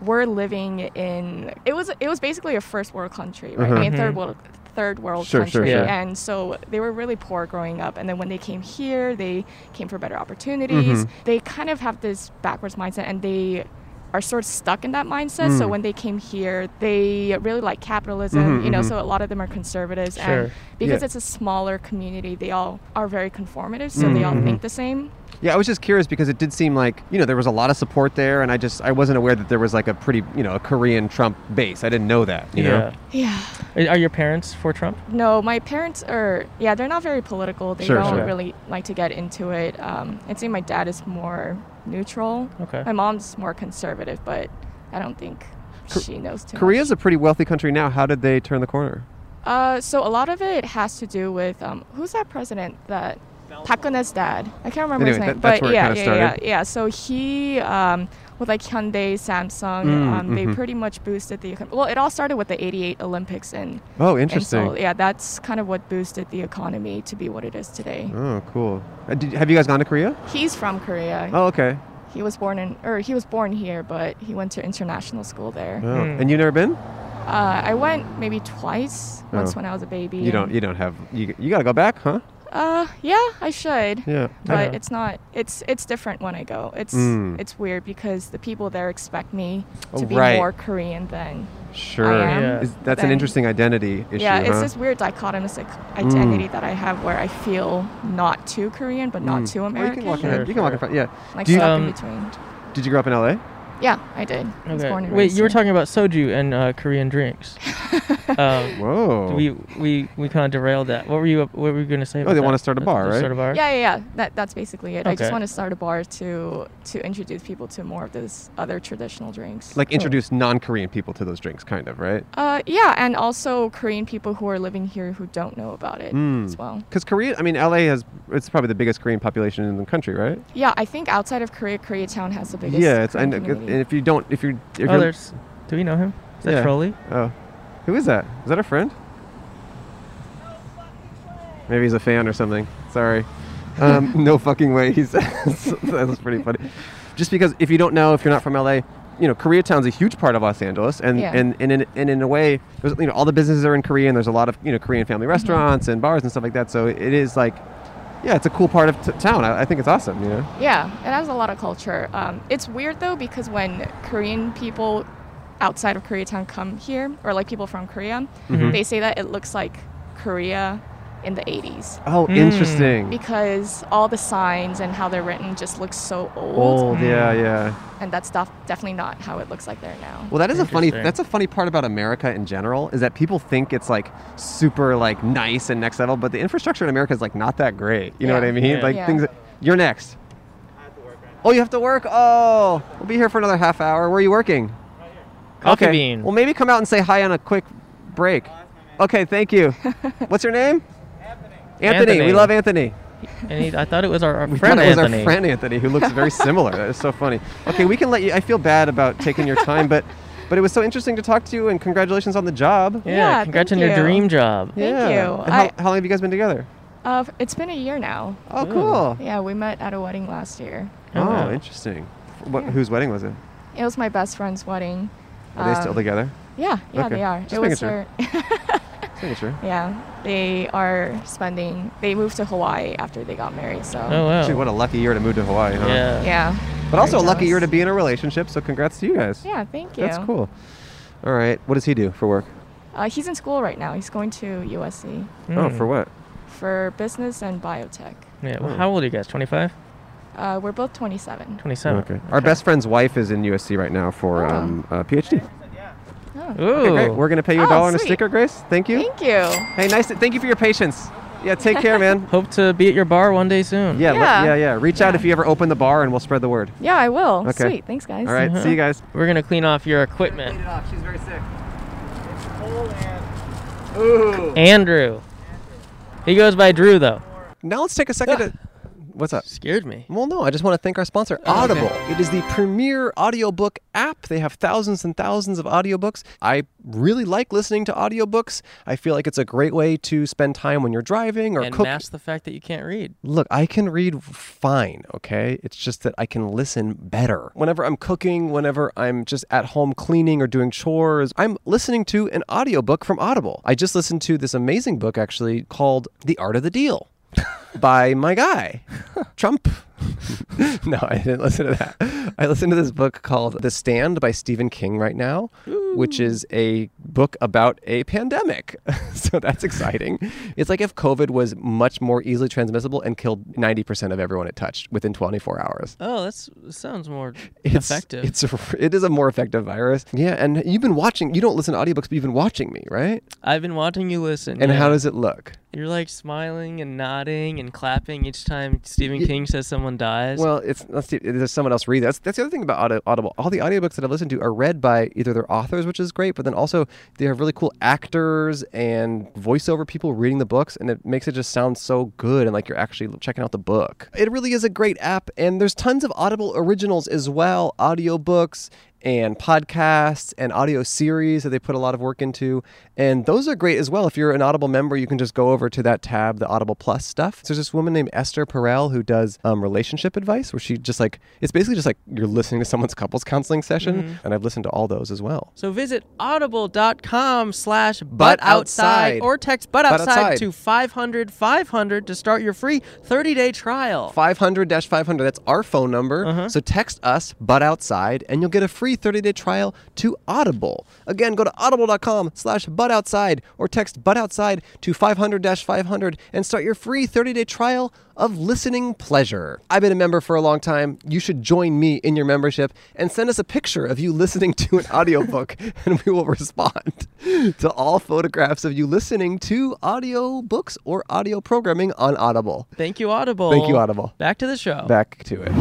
[SPEAKER 7] were living in it was it was basically a first world country, right? I mean third world third world
[SPEAKER 2] Mm-hmm. Sure, sure,
[SPEAKER 7] country,
[SPEAKER 5] sure. Yeah.
[SPEAKER 7] and so they were really poor growing up. And then when they came here, they came for better opportunities.
[SPEAKER 2] Mm-hmm.
[SPEAKER 7] They kind of have this backwards mindset, and they are sort of stuck in that mindset.
[SPEAKER 2] Mm.
[SPEAKER 7] So when they came here, they really like capitalism,
[SPEAKER 2] Mm-hmm,
[SPEAKER 7] you know. So a lot of them are conservatives,
[SPEAKER 5] Sure.
[SPEAKER 7] and because
[SPEAKER 2] Yeah.
[SPEAKER 7] it's a smaller community, they all are very conformative, so they all
[SPEAKER 2] Mm-hmm.
[SPEAKER 7] think the same.
[SPEAKER 2] Yeah, I was just curious because it did seem like you know there was a lot of support there, and I just I wasn't aware that there was like a pretty you know a Korean Trump base. I didn't know that. You know?
[SPEAKER 7] Yeah.
[SPEAKER 5] Yeah. Are your parents for Trump?
[SPEAKER 7] No, my parents are. Yeah, they're not very political. They
[SPEAKER 2] Sure,
[SPEAKER 7] don't
[SPEAKER 2] sure.
[SPEAKER 7] really like to get into it. Um, I'd say my dad is more neutral.
[SPEAKER 5] Okay.
[SPEAKER 7] My mom's more conservative, but I don't think she knows too
[SPEAKER 2] Korea's
[SPEAKER 7] much.
[SPEAKER 2] a pretty wealthy country now. How did they turn the corner?
[SPEAKER 7] Uh, so a lot of it has to do with um, who's that president that Pakuna's dad. I can't remember his
[SPEAKER 2] Anyway,
[SPEAKER 7] name,
[SPEAKER 2] that- that's
[SPEAKER 7] but
[SPEAKER 2] where it
[SPEAKER 7] yeah,
[SPEAKER 2] kinda
[SPEAKER 7] yeah,
[SPEAKER 2] started.
[SPEAKER 7] yeah, yeah. So he um, with like Hyundai, Samsung,
[SPEAKER 2] Mm,
[SPEAKER 7] um,
[SPEAKER 2] mm-hmm.
[SPEAKER 7] they pretty much boosted the. econ- Well, it all started with the '88 Olympics and.
[SPEAKER 2] Oh,
[SPEAKER 7] and so,
[SPEAKER 2] interesting.
[SPEAKER 7] yeah, that's kind of what boosted the economy to be what it is today.
[SPEAKER 2] Oh, cool. Uh, did, have you guys gone to Korea?
[SPEAKER 7] He's from Korea.
[SPEAKER 2] Oh, okay.
[SPEAKER 7] He was born in, or he was born here, but he went to international school there.
[SPEAKER 2] Oh.
[SPEAKER 5] Hmm.
[SPEAKER 2] And you've never been?
[SPEAKER 7] Uh, I went maybe twice.
[SPEAKER 2] Oh.
[SPEAKER 7] Once when I was a baby.
[SPEAKER 2] You don't.
[SPEAKER 7] and-
[SPEAKER 2] You don't have. You, you gotta go back, huh?
[SPEAKER 7] Uh, yeah, I should.
[SPEAKER 2] Yeah.
[SPEAKER 7] But
[SPEAKER 5] Yeah.
[SPEAKER 7] it's not. It's it's different when I go. It's
[SPEAKER 2] Mm.
[SPEAKER 7] it's weird because the people there expect me
[SPEAKER 2] Oh,
[SPEAKER 7] to be
[SPEAKER 2] right.
[SPEAKER 7] more Korean than.
[SPEAKER 2] Sure.
[SPEAKER 7] am,
[SPEAKER 5] Yeah.
[SPEAKER 2] Is- that's an
[SPEAKER 7] then-
[SPEAKER 2] interesting identity issue.
[SPEAKER 7] yeah, it's
[SPEAKER 2] huh?
[SPEAKER 7] this weird dichotomous like, identity that I have where I feel not too Korean but not too
[SPEAKER 2] Well, you can
[SPEAKER 7] American.
[SPEAKER 2] walk in.
[SPEAKER 5] Hmm. Sure,
[SPEAKER 2] You can walk in
[SPEAKER 5] sure.
[SPEAKER 2] front. Yeah. Mm.
[SPEAKER 7] Like
[SPEAKER 2] Do you-
[SPEAKER 7] stuck
[SPEAKER 5] Um,
[SPEAKER 7] in between.
[SPEAKER 2] Did you grow up in L.A.?
[SPEAKER 7] Yeah, I did. I was born and
[SPEAKER 5] Wait,
[SPEAKER 7] raised
[SPEAKER 5] you were
[SPEAKER 7] here.
[SPEAKER 5] talking about soju and uh, Korean drinks. um,
[SPEAKER 2] Whoa.
[SPEAKER 5] we we we kind of derailed that. What were you what were you going to say? about
[SPEAKER 2] Oh, they
[SPEAKER 5] that?
[SPEAKER 2] wanna start a bar,
[SPEAKER 5] Start a
[SPEAKER 2] right?
[SPEAKER 5] bar.
[SPEAKER 7] Yeah, yeah, yeah. That, that's basically it. I
[SPEAKER 5] Okay.
[SPEAKER 7] just want to start a bar to to introduce people to more of those other traditional drinks.
[SPEAKER 2] like introduce non-Korean people to those drinks, kind of, right?
[SPEAKER 7] uh, yeah, and also Korean people who are living here who don't know about it as well.
[SPEAKER 2] Because Korea, I mean, LA has it's probably the biggest Korean population in the country, right?
[SPEAKER 7] Yeah, I think outside of Korea, Koreatown has the biggest.
[SPEAKER 2] yeah, it's I
[SPEAKER 7] Korean
[SPEAKER 2] know, 'cause- and
[SPEAKER 7] community.
[SPEAKER 2] if you don't, if you, if
[SPEAKER 5] Oh,
[SPEAKER 2] you're-
[SPEAKER 5] there's. Do we know him? Is that
[SPEAKER 2] Yeah.
[SPEAKER 5] Trolley?
[SPEAKER 2] oh, who is that? Is that a friend? Maybe he's a fan or something. Sorry, um, no fucking way. He says that was pretty funny. Just because if you don't know, if you're not from LA, you know Koreatown's a huge part of Los Angeles, and
[SPEAKER 7] Yeah.
[SPEAKER 2] and and in, and in a way, there's you know all the businesses are in Korea, and there's a lot of you know Korean
[SPEAKER 7] Mm-hmm.
[SPEAKER 2] family restaurants and bars and stuff like that. So it is like, yeah, it's a cool part of t- town. I, I think it's awesome. You know.
[SPEAKER 7] Yeah, it has a lot of culture. Um, it's weird though because when Korean people outside of Koreatown come here, or like people from Korea, they say that it looks like Korea in the 80s
[SPEAKER 2] Oh, interesting.
[SPEAKER 7] Hmm. because all the signs and how they're written just looks so old,
[SPEAKER 2] Old, yeah,
[SPEAKER 7] Mm.
[SPEAKER 2] yeah.
[SPEAKER 7] and that's def- definitely not how it looks like there now.
[SPEAKER 2] Well, that is a funny.
[SPEAKER 5] Interesting.
[SPEAKER 2] That's a funny part about America in general is that people think it's like super like nice and next level, but the infrastructure in America is like not that great. You know
[SPEAKER 7] Yeah.
[SPEAKER 2] what I mean?
[SPEAKER 5] Yeah.
[SPEAKER 2] Like
[SPEAKER 7] Yeah.
[SPEAKER 2] things. You're next. Oh, you have to work. Oh, we'll be here for another half hour. Where are you working?
[SPEAKER 5] Coffee bean.
[SPEAKER 2] Well, maybe come out and say hi on a quick break. Okay, thank you. What's your name? Anthony. Anthony. We
[SPEAKER 5] Anthony.
[SPEAKER 2] love Anthony.
[SPEAKER 5] And he, I thought it was our, our
[SPEAKER 2] We
[SPEAKER 5] friend
[SPEAKER 2] thought it was
[SPEAKER 5] Anthony.
[SPEAKER 2] our friend Anthony, who looks very similar. That is so funny. Okay, we can let you. I feel bad about taking your time, but but it was so interesting to talk to you, and congratulations on the job.
[SPEAKER 5] Yeah,
[SPEAKER 7] Yeah,
[SPEAKER 5] congrats on
[SPEAKER 7] thank
[SPEAKER 5] your
[SPEAKER 7] you.
[SPEAKER 5] dream job.
[SPEAKER 7] Thank you.
[SPEAKER 2] And how,
[SPEAKER 7] I-
[SPEAKER 2] how long have you guys been together?
[SPEAKER 7] Uh, it's been a year now.
[SPEAKER 2] Oh, cool.
[SPEAKER 7] Yeah, we met at a wedding last year.
[SPEAKER 2] Oh,
[SPEAKER 5] Oh.
[SPEAKER 2] interesting. What, Whose wedding was it?
[SPEAKER 7] It was my best friend's wedding.
[SPEAKER 2] Are they still
[SPEAKER 7] Um,
[SPEAKER 2] together?
[SPEAKER 7] Yeah, yeah,
[SPEAKER 8] Okay.
[SPEAKER 7] they are.
[SPEAKER 8] Just
[SPEAKER 7] it
[SPEAKER 8] making
[SPEAKER 7] was
[SPEAKER 8] sure.
[SPEAKER 7] their-
[SPEAKER 8] Just making sure.
[SPEAKER 7] yeah, they are spending. They moved to Hawaii after they got married, so
[SPEAKER 5] Oh wow.
[SPEAKER 8] Actually, what a lucky year to move to Hawaii, huh?
[SPEAKER 2] uh,
[SPEAKER 5] yeah.
[SPEAKER 7] yeah.
[SPEAKER 8] But also a
[SPEAKER 7] Very
[SPEAKER 8] lucky year to
[SPEAKER 7] jealous.
[SPEAKER 8] be in a relationship, so congrats to you guys.
[SPEAKER 7] Yeah, thank you.
[SPEAKER 8] That's cool. All right. What does he do for work?
[SPEAKER 7] Uh, he's in school right now. He's going to USC
[SPEAKER 8] Oh,
[SPEAKER 5] Hmm.
[SPEAKER 8] for what?
[SPEAKER 7] for business and biotech.
[SPEAKER 5] Yeah.
[SPEAKER 2] Oh.
[SPEAKER 5] Well, how old are you guys? 25?
[SPEAKER 7] Uh, we're both 27.
[SPEAKER 5] 27.
[SPEAKER 8] okay. Our best friend's wife is in USC right now for
[SPEAKER 7] Oh.
[SPEAKER 8] um, a PhD.
[SPEAKER 7] Oh,
[SPEAKER 5] Ooh.
[SPEAKER 8] Okay, great. We're gonna pay you a
[SPEAKER 7] Oh,
[SPEAKER 8] dollar and a
[SPEAKER 7] sweet.
[SPEAKER 8] sticker, Grace. Thank you.
[SPEAKER 7] Thank you.
[SPEAKER 8] Hey, nice. To, thank you for your patience. Yeah. Take care, man.
[SPEAKER 5] Hope to be at your bar one day soon.
[SPEAKER 8] Yeah. let-
[SPEAKER 7] Yeah.
[SPEAKER 8] yeah. Yeah. Reach out if you ever open the bar, and we'll spread the word.
[SPEAKER 7] Yeah, I will.
[SPEAKER 8] Okay.
[SPEAKER 7] Sweet. Thanks, guys.
[SPEAKER 8] All right,
[SPEAKER 2] Uh-huh.
[SPEAKER 8] See
[SPEAKER 7] Uh-huh.
[SPEAKER 8] you guys.
[SPEAKER 5] We're gonna clean off your equipment.
[SPEAKER 8] She's very sick.
[SPEAKER 5] Andrew. He goes by Drew though.
[SPEAKER 2] Now let's take a second to. What's up?
[SPEAKER 5] Scared me.
[SPEAKER 2] Well, no, I just want to thank our sponsor,
[SPEAKER 7] Oh,
[SPEAKER 2] Audible. It is the premier audiobook app. They have thousands and thousands of audiobooks. I really like listening to audiobooks. I feel like it's a great way to spend time when you're driving or
[SPEAKER 5] And
[SPEAKER 2] cooking.
[SPEAKER 5] mask the fact that you can't read.
[SPEAKER 2] Look, I can read fine, okay? It's just that I can listen better. Whenever I'm cooking, whenever I'm just at home cleaning or doing chores, I'm listening to an audiobook from Audible. I just listened to this amazing book actually called The Art of the Deal by my guy, Trump. no, I didn't listen to that. I listened to this book called The Stand by Stephen King right now, which is a book about a pandemic. so that's exciting. It's like if COVID was much more easily transmissible and killed 90% of everyone it touched within 24 hours.
[SPEAKER 5] Oh, that's sounds more
[SPEAKER 2] It's,
[SPEAKER 5] effective.
[SPEAKER 2] It's a, it is a more effective virus. Yeah, and you've been watching. You don't listen to audiobooks, but you've been watching me, right?
[SPEAKER 5] I've been watching you listen.
[SPEAKER 2] And
[SPEAKER 5] yeah.
[SPEAKER 2] how does it look?
[SPEAKER 5] You're like smiling and nodding and clapping each time Stephen
[SPEAKER 2] Y-
[SPEAKER 5] King says someone dies.
[SPEAKER 2] Well, it's let's see, there's someone else reading. That's that's the other thing about Audi- Audible. All the audiobooks that I've listened to are read by either their authors, which is great, but then also they have really cool actors and voiceover people reading the books, and it makes it just sound so good and like you're actually checking out the book. It really is a great app, and there's tons of Audible originals as well, audiobooks and podcasts and audio series that they put a lot of work into. And those are great as well. If you're an Audible member, you can just go over to that tab, the Audible Plus stuff. So there's this woman named Esther Perel who does um, relationship advice where she just like, it's basically just like you're listening to someone's couples counseling session. And I've listened to all those as well.
[SPEAKER 5] so visit audible.com slash butt
[SPEAKER 2] Butt
[SPEAKER 5] outside
[SPEAKER 2] outside.
[SPEAKER 5] or text butt
[SPEAKER 2] Butt
[SPEAKER 5] outside
[SPEAKER 2] outside.
[SPEAKER 5] to 500 500 to start your free 30 day trial.
[SPEAKER 2] 500 500, that's our phone number. So text us, butt outside, and you'll get a free 30 day trial to Audible. Again, go to audible.com slash butt outside or text butt outside to 500 500 and start your free 30 day trial of listening pleasure. I've been a member for a long time. You should join me in your membership and send us a picture of you listening to an audiobook, and we will respond to all photographs of you listening to audiobooks or audio programming on Audible.
[SPEAKER 5] Thank you, Audible.
[SPEAKER 2] Thank you, Audible.
[SPEAKER 5] Back to the show.
[SPEAKER 2] Back to it.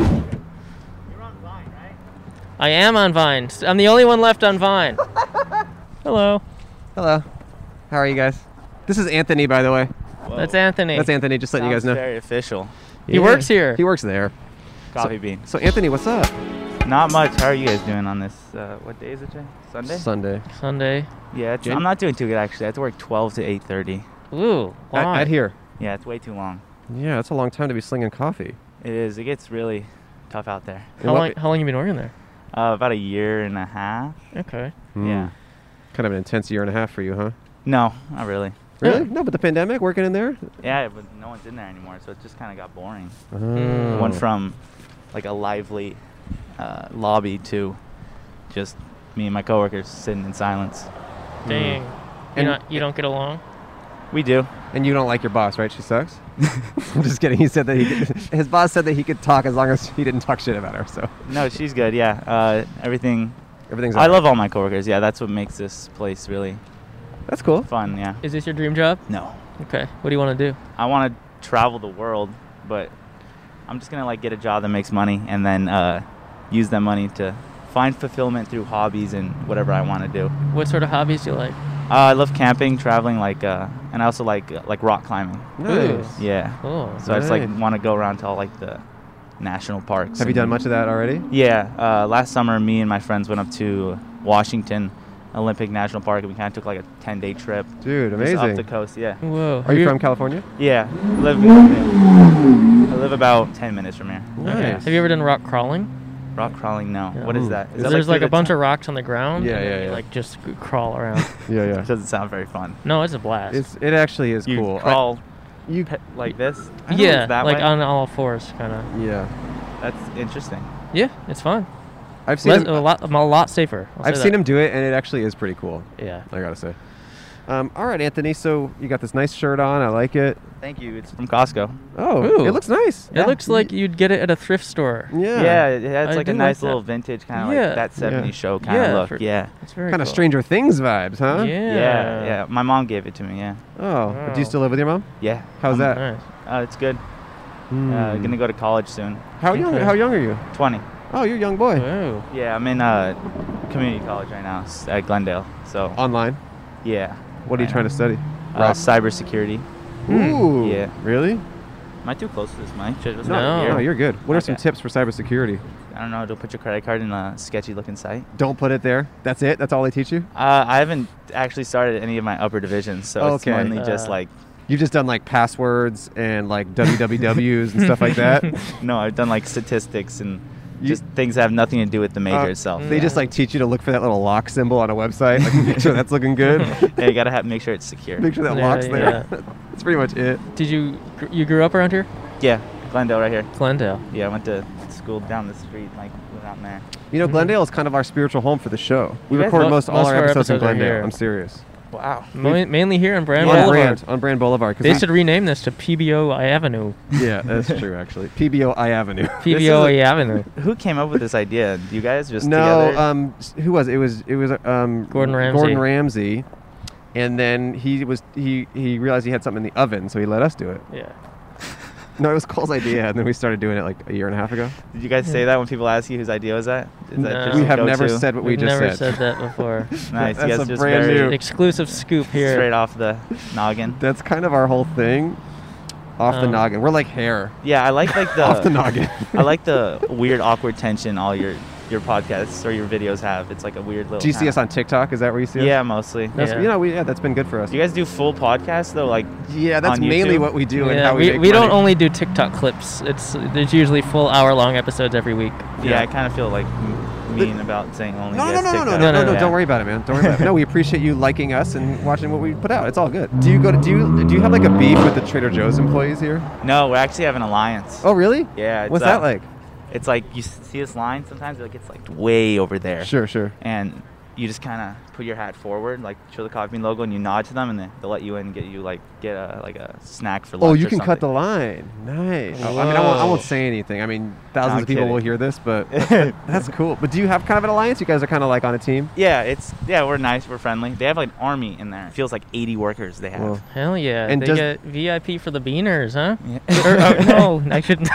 [SPEAKER 5] I am on Vine. S- I'm the only one left on Vine. Hello.
[SPEAKER 8] Hello. How are you guys? This is Anthony, by the way.
[SPEAKER 5] That's Anthony.
[SPEAKER 8] That's Anthony. Just letting you guys know.
[SPEAKER 9] Very official.
[SPEAKER 5] He works here.
[SPEAKER 8] He works there.
[SPEAKER 9] Coffee bean.
[SPEAKER 8] So Anthony, what's up?
[SPEAKER 9] Not much. How are you guys doing on this? Uh, what day is it? Jay? Sunday.
[SPEAKER 8] Sunday.
[SPEAKER 5] Sunday.
[SPEAKER 9] yeah, it's, I'm not doing too good actually. I have to work 12 to 8:30.
[SPEAKER 5] Ooh. Why?
[SPEAKER 8] At, at here.
[SPEAKER 9] Yeah, it's way too long.
[SPEAKER 8] Yeah, that's a long time to be slinging coffee.
[SPEAKER 9] It is. It gets really tough out there.
[SPEAKER 5] how, long, how long you been working there?
[SPEAKER 9] Uh, about a year and a half.
[SPEAKER 5] Okay.
[SPEAKER 2] Hmm.
[SPEAKER 9] Yeah.
[SPEAKER 8] Hmm. Kind of an intense year and a half for you, huh?
[SPEAKER 9] No, not really.
[SPEAKER 8] Really? No, but the pandemic, working in there.
[SPEAKER 9] Yeah, but no one's in there anymore, so it just kind of got boring.
[SPEAKER 5] Hmm.
[SPEAKER 8] Oh.
[SPEAKER 2] Hmm.
[SPEAKER 9] It went from like a lively uh, lobby to just me and my coworkers sitting in silence.
[SPEAKER 5] Dang. You,
[SPEAKER 8] And-
[SPEAKER 5] not, you don't get along?
[SPEAKER 9] We do.
[SPEAKER 8] And you don't like your boss, right? She sucks. I'm just kidding. He said that he could, his boss said that he could talk as long as he didn't talk shit about her. So
[SPEAKER 9] No, she's good. Yeah. Uh, everything.
[SPEAKER 8] everything's.
[SPEAKER 9] I love all my coworkers. Yeah, that's what makes this place really
[SPEAKER 8] That's cool.
[SPEAKER 9] fun. Yeah.
[SPEAKER 5] Is this your dream job?
[SPEAKER 9] No.
[SPEAKER 5] Okay. What do you want to do?
[SPEAKER 9] I want to travel the world, but I'm just gonna like get a job that makes money and then uh, use that money to find fulfillment through hobbies and whatever I want to do.
[SPEAKER 5] What sort of hobbies do you like?
[SPEAKER 9] Uh, I love camping, traveling, like, uh, and I also like uh, like rock climbing.
[SPEAKER 8] Nice.
[SPEAKER 9] Yeah.
[SPEAKER 8] Oh,
[SPEAKER 5] Cool.
[SPEAKER 9] So I just like
[SPEAKER 8] Nice.
[SPEAKER 9] want to go around to all like the national parks.
[SPEAKER 8] Have you
[SPEAKER 9] and-
[SPEAKER 8] done much of that already?
[SPEAKER 9] Yeah. Uh, last summer, me and my friends went up to Washington Olympic National Park, and we kind of took like a 10-day trip.
[SPEAKER 8] Dude,
[SPEAKER 9] Just up
[SPEAKER 8] amazing.
[SPEAKER 9] the coast. Yeah.
[SPEAKER 5] Whoa.
[SPEAKER 8] Are you from California?
[SPEAKER 9] Yeah, live. I live about ten minutes from here.
[SPEAKER 5] Okay. Have you ever done rock crawling?
[SPEAKER 9] Rock crawling? No.
[SPEAKER 5] Yeah.
[SPEAKER 9] What is that? Is that
[SPEAKER 5] Oh. There's like,
[SPEAKER 9] through
[SPEAKER 5] a
[SPEAKER 9] the
[SPEAKER 5] bunch
[SPEAKER 9] top?
[SPEAKER 5] of rocks on the ground.
[SPEAKER 2] Yeah,
[SPEAKER 5] and then
[SPEAKER 2] yeah,
[SPEAKER 5] You
[SPEAKER 2] yeah.
[SPEAKER 5] like just g- crawl around.
[SPEAKER 2] Yeah,
[SPEAKER 9] It doesn't sound very fun.
[SPEAKER 5] no, it's a blast.
[SPEAKER 2] It's it actually is
[SPEAKER 9] You
[SPEAKER 2] cool. I-
[SPEAKER 9] crawl
[SPEAKER 2] you
[SPEAKER 9] pe- like this. I don't know,
[SPEAKER 5] yeah,
[SPEAKER 9] it's that
[SPEAKER 5] like
[SPEAKER 9] way.
[SPEAKER 5] on all fours, kind of.
[SPEAKER 2] yeah.
[SPEAKER 9] That's interesting.
[SPEAKER 5] Yeah, it's fun.
[SPEAKER 2] I've seen
[SPEAKER 5] Less,
[SPEAKER 2] him,
[SPEAKER 5] a lot, a lot safer. I'll
[SPEAKER 2] I've
[SPEAKER 5] say
[SPEAKER 2] seen
[SPEAKER 5] that.
[SPEAKER 2] him do it, and it actually is pretty cool.
[SPEAKER 5] Yeah.
[SPEAKER 2] I gotta say. Um, all right, Anthony. So you got this nice shirt on. I like it.
[SPEAKER 9] Thank you. It's from Costco.
[SPEAKER 2] Oh,
[SPEAKER 5] Ooh.
[SPEAKER 2] it looks nice.
[SPEAKER 5] It looks like you'd get it at a thrift store.
[SPEAKER 2] Yeah.
[SPEAKER 9] Yeah, it has
[SPEAKER 5] I
[SPEAKER 9] like a
[SPEAKER 5] do like
[SPEAKER 9] nice
[SPEAKER 5] that.
[SPEAKER 9] little vintage kind of
[SPEAKER 5] Yeah.
[SPEAKER 9] like that 70s show kind
[SPEAKER 5] Yeah,
[SPEAKER 9] of look.
[SPEAKER 5] for-
[SPEAKER 9] yeah.
[SPEAKER 5] It's very
[SPEAKER 2] Kind of
[SPEAKER 5] cool.
[SPEAKER 2] Stranger Things vibes, huh?
[SPEAKER 5] Yeah.
[SPEAKER 9] yeah. Yeah. My mom gave it to me. Yeah.
[SPEAKER 2] Oh, do you still live with your mom?
[SPEAKER 9] Yeah.
[SPEAKER 2] How's that?
[SPEAKER 5] Nice.
[SPEAKER 9] Uh, it's good. Uh,
[SPEAKER 2] Hmm.
[SPEAKER 9] gonna go to college soon.
[SPEAKER 2] how young?
[SPEAKER 5] okay.
[SPEAKER 2] How young are you?
[SPEAKER 9] 20.
[SPEAKER 2] Oh, you're a young boy.
[SPEAKER 5] Whoa.
[SPEAKER 9] Yeah, I'm in uh, community college right now s- at Glendale. So
[SPEAKER 2] Online.
[SPEAKER 9] yeah.
[SPEAKER 2] What are you
[SPEAKER 9] Right
[SPEAKER 2] trying to study?
[SPEAKER 9] now. Uh, cybersecurity.
[SPEAKER 2] Ooh.
[SPEAKER 9] Yeah.
[SPEAKER 2] Really?
[SPEAKER 9] Am I too close to this mic? Should I just
[SPEAKER 5] No.
[SPEAKER 9] have it
[SPEAKER 2] No,
[SPEAKER 9] here?
[SPEAKER 2] you're good. What are some
[SPEAKER 9] Okay.
[SPEAKER 2] tips for cybersecurity?
[SPEAKER 9] I don't know. Don't put your credit card in a sketchy looking site.
[SPEAKER 2] Don't put it there. That's it. That's all they teach you.
[SPEAKER 9] Uh, I haven't actually started any of my upper divisions, so
[SPEAKER 2] Okay.
[SPEAKER 9] it's mainly just
[SPEAKER 5] Uh,
[SPEAKER 9] like
[SPEAKER 2] You've just done like passwords and like wwws and stuff like that.
[SPEAKER 9] no, I've done like statistics and
[SPEAKER 2] You-
[SPEAKER 9] just things that have nothing to do with the major
[SPEAKER 2] Uh,
[SPEAKER 9] itself.
[SPEAKER 2] They just like teach you to look for that little lock symbol on a website, like make sure that's looking good,
[SPEAKER 9] yeah, you gotta have make sure it's secure.
[SPEAKER 2] make sure that
[SPEAKER 5] Yeah,
[SPEAKER 2] lock's there.
[SPEAKER 5] yeah.
[SPEAKER 2] that's pretty much it.
[SPEAKER 5] Did you gr- you grew up around here?
[SPEAKER 9] Yeah, Glendale right here.
[SPEAKER 5] Glendale.
[SPEAKER 9] Yeah, I went to school down the street, like down there.
[SPEAKER 2] You know, Glendale is kind of our spiritual home for the show. We
[SPEAKER 9] You guys-
[SPEAKER 2] record
[SPEAKER 5] Mo-
[SPEAKER 2] most, all
[SPEAKER 5] most
[SPEAKER 2] our
[SPEAKER 5] of our
[SPEAKER 2] episodes, in
[SPEAKER 5] episodes are
[SPEAKER 2] Glendale.
[SPEAKER 5] here.
[SPEAKER 2] I'm serious.
[SPEAKER 9] Wow.
[SPEAKER 5] Ma- mainly here on Brand
[SPEAKER 2] on
[SPEAKER 5] Boulevard.
[SPEAKER 2] Brand, on Brand Boulevard. 'cause
[SPEAKER 5] They
[SPEAKER 2] we-
[SPEAKER 5] should rename this to PBO Avenue.
[SPEAKER 2] yeah, that's true actually. PBOI Avenue.
[SPEAKER 5] PBO
[SPEAKER 9] a-
[SPEAKER 5] Avenue.
[SPEAKER 9] Who came up with this idea? You guys just
[SPEAKER 2] no,
[SPEAKER 9] together?
[SPEAKER 2] um, s- who was it? It Was it was um
[SPEAKER 5] Gordon Ramsay.
[SPEAKER 2] Gordon Ramsay, and then he was he he realized he had something in the oven, so he let us do it.
[SPEAKER 5] Yeah.
[SPEAKER 2] No, it was Cole's idea, and then we started doing it like a year and a half ago.
[SPEAKER 9] Did you guys say that when people ask you whose idea was that? Is that
[SPEAKER 5] No.
[SPEAKER 9] just
[SPEAKER 2] we
[SPEAKER 9] a
[SPEAKER 2] have never
[SPEAKER 9] go-to?
[SPEAKER 2] said what we
[SPEAKER 5] We've
[SPEAKER 2] just
[SPEAKER 5] never said that before.
[SPEAKER 9] Nice.
[SPEAKER 2] That's
[SPEAKER 9] you
[SPEAKER 2] a
[SPEAKER 9] guys just
[SPEAKER 2] brand
[SPEAKER 9] very
[SPEAKER 2] new-
[SPEAKER 5] Exclusive scoop here.
[SPEAKER 9] straight off the noggin.
[SPEAKER 2] That's kind of our whole thing. Off the
[SPEAKER 5] Um,
[SPEAKER 2] noggin. We're like hair.
[SPEAKER 9] Yeah, I like like the
[SPEAKER 2] Off the noggin.
[SPEAKER 9] I like the weird awkward tension all your your podcasts or your videos have. It's like a weird little
[SPEAKER 2] Do you see
[SPEAKER 9] kinda-
[SPEAKER 2] us on TikTok? Is that where you see us?
[SPEAKER 9] Oh, Yeah, mostly.
[SPEAKER 2] That's,
[SPEAKER 5] Yeah.
[SPEAKER 2] You know, we, yeah, that's been good for us.
[SPEAKER 9] Do you guys do full podcasts though? Like
[SPEAKER 2] yeah, that's
[SPEAKER 9] on YouTube?
[SPEAKER 2] mainly what we do and
[SPEAKER 5] yeah,
[SPEAKER 2] how we
[SPEAKER 5] we,
[SPEAKER 2] make
[SPEAKER 5] we don't
[SPEAKER 2] money.
[SPEAKER 5] only do TikTok clips. It's there's usually full hour long episodes every week.
[SPEAKER 9] yeah, I kind of feel like m- mean about saying only.
[SPEAKER 2] No,
[SPEAKER 9] you
[SPEAKER 2] no,
[SPEAKER 9] guys
[SPEAKER 2] no, no, no,
[SPEAKER 9] TikTok.
[SPEAKER 2] no,
[SPEAKER 5] No,
[SPEAKER 2] no, no!
[SPEAKER 9] Yeah.
[SPEAKER 2] Don't worry about it, man. Don't worry about it. No, we appreciate you liking us and watching what we put out. It's all good. Do you go to do you do you have like a beef with the Trader Joe's employees here?
[SPEAKER 9] No, we actually have an alliance.
[SPEAKER 2] Oh, really?
[SPEAKER 9] Yeah. It's,
[SPEAKER 2] What's
[SPEAKER 9] uh,
[SPEAKER 2] that like?
[SPEAKER 9] It's like you s- see this line sometimes. Like it's like way over there.
[SPEAKER 2] Sure, sure.
[SPEAKER 9] And you just kind of put your hat forward, like show the coffee bean logo, and you nod to them, and they- they'll let you in and get you like get a like a snack for lunch.
[SPEAKER 2] Oh, you
[SPEAKER 9] or
[SPEAKER 2] can cut the
[SPEAKER 9] something.
[SPEAKER 2] line. Nice. Oh, I mean, I won't, I
[SPEAKER 5] Whoa.
[SPEAKER 2] won't say anything. I mean, thousands
[SPEAKER 9] I'm
[SPEAKER 2] of people will
[SPEAKER 9] kidding.
[SPEAKER 2] hear this, but that's cool. But do you have kind of an alliance? You guys are kind of like on a team.
[SPEAKER 9] Yeah, it's yeah, we're nice, we're friendly. They have like an army in there. It feels like 80 workers they have.
[SPEAKER 2] Well,
[SPEAKER 5] Hell yeah!
[SPEAKER 2] And
[SPEAKER 5] they
[SPEAKER 2] does-
[SPEAKER 5] get VIP for the beaners, huh?
[SPEAKER 9] Yeah.
[SPEAKER 5] Or- oh, no, I shouldn't.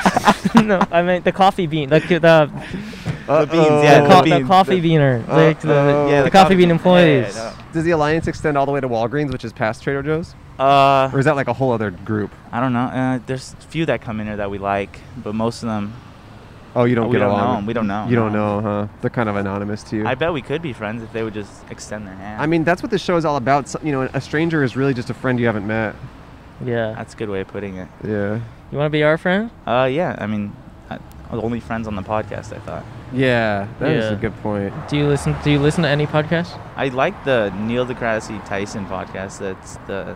[SPEAKER 5] no, I meant the coffee bean. The the, the,
[SPEAKER 2] The
[SPEAKER 9] beans, yeah,
[SPEAKER 5] co- the
[SPEAKER 9] the beans, Uh,
[SPEAKER 5] coffee
[SPEAKER 9] the- oh,
[SPEAKER 5] beaner, like the,
[SPEAKER 2] Uh-oh.
[SPEAKER 5] the,
[SPEAKER 2] Yeah,
[SPEAKER 5] coffee, bean employees.
[SPEAKER 9] Yeah,
[SPEAKER 2] Does the alliance extend all the way to Walgreens, which is past Trader Joe's,
[SPEAKER 9] no. Uh,
[SPEAKER 2] or is that like a whole other group?
[SPEAKER 9] I don't know. Uh, there's a few that come in here that we like, but most of them
[SPEAKER 2] Oh, you don't
[SPEAKER 9] we
[SPEAKER 2] get
[SPEAKER 9] don't know
[SPEAKER 2] along.
[SPEAKER 9] 'em. We don't know.
[SPEAKER 2] You don't
[SPEAKER 9] no.
[SPEAKER 2] know, huh? They're kind of anonymous to you.
[SPEAKER 9] I bet we could be friends if they would just extend their hand.
[SPEAKER 2] I mean, that's what this show is all about. So, you know, a stranger is really just a friend you haven't met.
[SPEAKER 5] Yeah.
[SPEAKER 9] that's a good way of putting it.
[SPEAKER 2] Yeah.
[SPEAKER 5] You want to be our friend?
[SPEAKER 9] Uh, yeah. I mean, I, I was only friends on the podcast. I thought
[SPEAKER 2] Yeah, that is
[SPEAKER 5] Yeah.
[SPEAKER 2] a good point.
[SPEAKER 5] Do you listen? Do you listen to any podcasts?
[SPEAKER 9] I like the Neil deGrasse Tyson podcast. That's the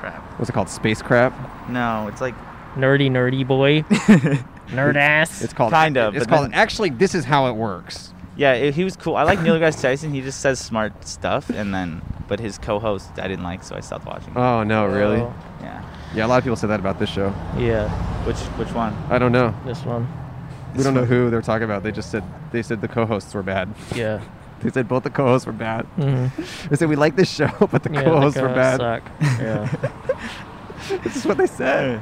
[SPEAKER 9] crap.
[SPEAKER 2] What's it called? Space crap.
[SPEAKER 9] No, it's like
[SPEAKER 5] Nerdy, nerdy boy, nerd ass.
[SPEAKER 2] It's called.
[SPEAKER 9] Kind of,
[SPEAKER 2] It's
[SPEAKER 9] but
[SPEAKER 2] called.
[SPEAKER 9] then-
[SPEAKER 2] actually, this is how it works.
[SPEAKER 9] Yeah, it, he was cool. I like Neil deGrasse Tyson. He just says smart stuff, and then but his co-host I didn't like, so I stopped watching.
[SPEAKER 2] Oh no, really?
[SPEAKER 5] Oh,
[SPEAKER 9] yeah,
[SPEAKER 2] Yeah, a lot of people say that about this show.
[SPEAKER 5] yeah,
[SPEAKER 9] which which one?
[SPEAKER 2] I don't know.
[SPEAKER 5] this one.
[SPEAKER 2] We don't know who they're talking about. They just said they said the co-hosts were bad.
[SPEAKER 5] Yeah.
[SPEAKER 2] They said both the co-hosts were bad.
[SPEAKER 5] Mhm.
[SPEAKER 2] They said we like this show, but the
[SPEAKER 5] Yeah, the
[SPEAKER 2] co-hosts were
[SPEAKER 5] co-hosts
[SPEAKER 2] bad.
[SPEAKER 5] Suck. Yeah.
[SPEAKER 2] This is what they said.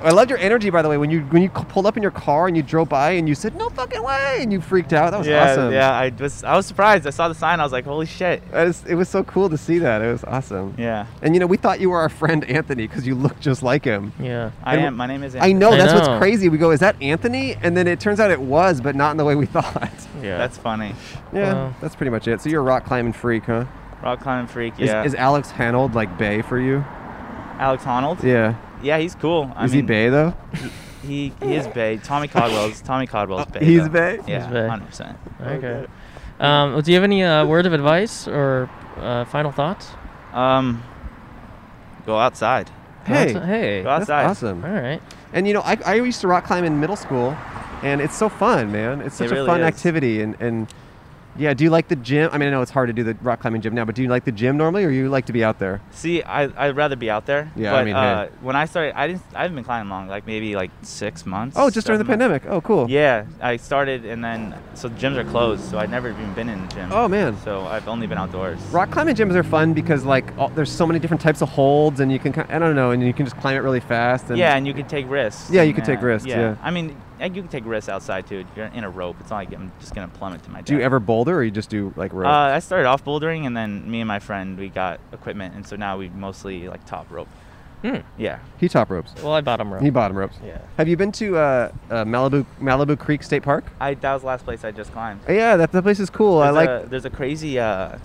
[SPEAKER 2] I loved your energy, by the way, when you when you c- pulled up in your car and you drove by and you said "No fucking way" and you freaked out. That was
[SPEAKER 9] yeah,
[SPEAKER 2] awesome.
[SPEAKER 9] yeah. I was I was surprised. I saw the sign. I was like, holy shit.
[SPEAKER 2] I just- it was so cool to see that. It was awesome.
[SPEAKER 9] Yeah,
[SPEAKER 2] And you know, we thought you were our friend Anthony because you look just like him.
[SPEAKER 5] Yeah.
[SPEAKER 9] I
[SPEAKER 2] And-
[SPEAKER 9] am. My name is.
[SPEAKER 2] I know
[SPEAKER 5] I
[SPEAKER 2] that's
[SPEAKER 5] know.
[SPEAKER 2] what's crazy. We go, "Is that Anthony?" And then it turns out it was, but not in the way we thought.
[SPEAKER 5] Yeah.
[SPEAKER 9] That's funny.
[SPEAKER 2] Yeah,
[SPEAKER 5] Wow.
[SPEAKER 2] that's pretty much it. So you're a rock climbing freak, huh?
[SPEAKER 9] Rock climbing freak.
[SPEAKER 2] Is,
[SPEAKER 9] Yeah.
[SPEAKER 2] is Alex Hanold like Bay for you?
[SPEAKER 9] Alex Honnold?
[SPEAKER 2] Yeah.
[SPEAKER 9] Yeah, he's cool. I
[SPEAKER 2] is he
[SPEAKER 9] mean,
[SPEAKER 2] Bay though?
[SPEAKER 9] He, he is Bay. Tommy Codwell's Tommy Codwell's Bay.
[SPEAKER 2] He's
[SPEAKER 9] though.
[SPEAKER 2] bae?
[SPEAKER 9] Yeah,
[SPEAKER 5] He's bae.
[SPEAKER 9] hundred percent.
[SPEAKER 5] Okay. Um, well, do you have any uh, word of advice or uh, final thoughts?
[SPEAKER 9] Um, go outside.
[SPEAKER 5] Go
[SPEAKER 2] Hey.
[SPEAKER 5] outside- hey.
[SPEAKER 9] Go outside.
[SPEAKER 2] awesome.
[SPEAKER 5] All right.
[SPEAKER 2] And you know, I, I used to rock climb in middle school, and it's so fun, man. It's
[SPEAKER 9] It
[SPEAKER 2] such a
[SPEAKER 9] really
[SPEAKER 2] fun
[SPEAKER 9] is.
[SPEAKER 2] activity, and and yeah. Do you like the gym? I mean, I know it's hard to do the rock climbing gym now, but do you like the gym normally, or you like to be out there?
[SPEAKER 9] See, I I'd rather be out there.
[SPEAKER 2] Yeah, I
[SPEAKER 9] but,
[SPEAKER 2] mean, hey.
[SPEAKER 9] uh, when I started, I didn't. I haven't been climbing long. Like maybe like six months.
[SPEAKER 2] Oh, just during the
[SPEAKER 9] seven months.
[SPEAKER 2] pandemic. Oh, cool.
[SPEAKER 9] Yeah, I started and then so the gyms are closed, so I'd never even been in the gym.
[SPEAKER 2] Oh man.
[SPEAKER 9] So I've only been outdoors.
[SPEAKER 2] Rock climbing gyms are fun because like all, there's so many different types of holds, and you can ki- I don't know, and you can just climb it really fast. And
[SPEAKER 9] yeah, and you could take risks.
[SPEAKER 2] Yeah, you
[SPEAKER 9] and,
[SPEAKER 2] could take
[SPEAKER 9] uh,
[SPEAKER 2] risks, yeah.
[SPEAKER 9] I mean, and you can take risks outside too. You're in a rope. It's not like I'm just gonna plummet to my death.
[SPEAKER 2] Do you ever boulder, or you just do like rope?
[SPEAKER 9] Uh, I started off bouldering, and then me and my friend we got equipment, and so now we mostly like top rope.
[SPEAKER 5] Hmm.
[SPEAKER 9] Yeah.
[SPEAKER 2] he top ropes.
[SPEAKER 5] Well, I bought him rope.
[SPEAKER 2] He bottom ropes.
[SPEAKER 5] Yeah.
[SPEAKER 2] Have you been to uh, uh, Malibu Malibu Creek State Park?
[SPEAKER 9] I that was the last place I just climbed.
[SPEAKER 2] Uh, Yeah, that, that place is cool. I
[SPEAKER 9] There's
[SPEAKER 2] like.
[SPEAKER 9] a- there's a crazy uh,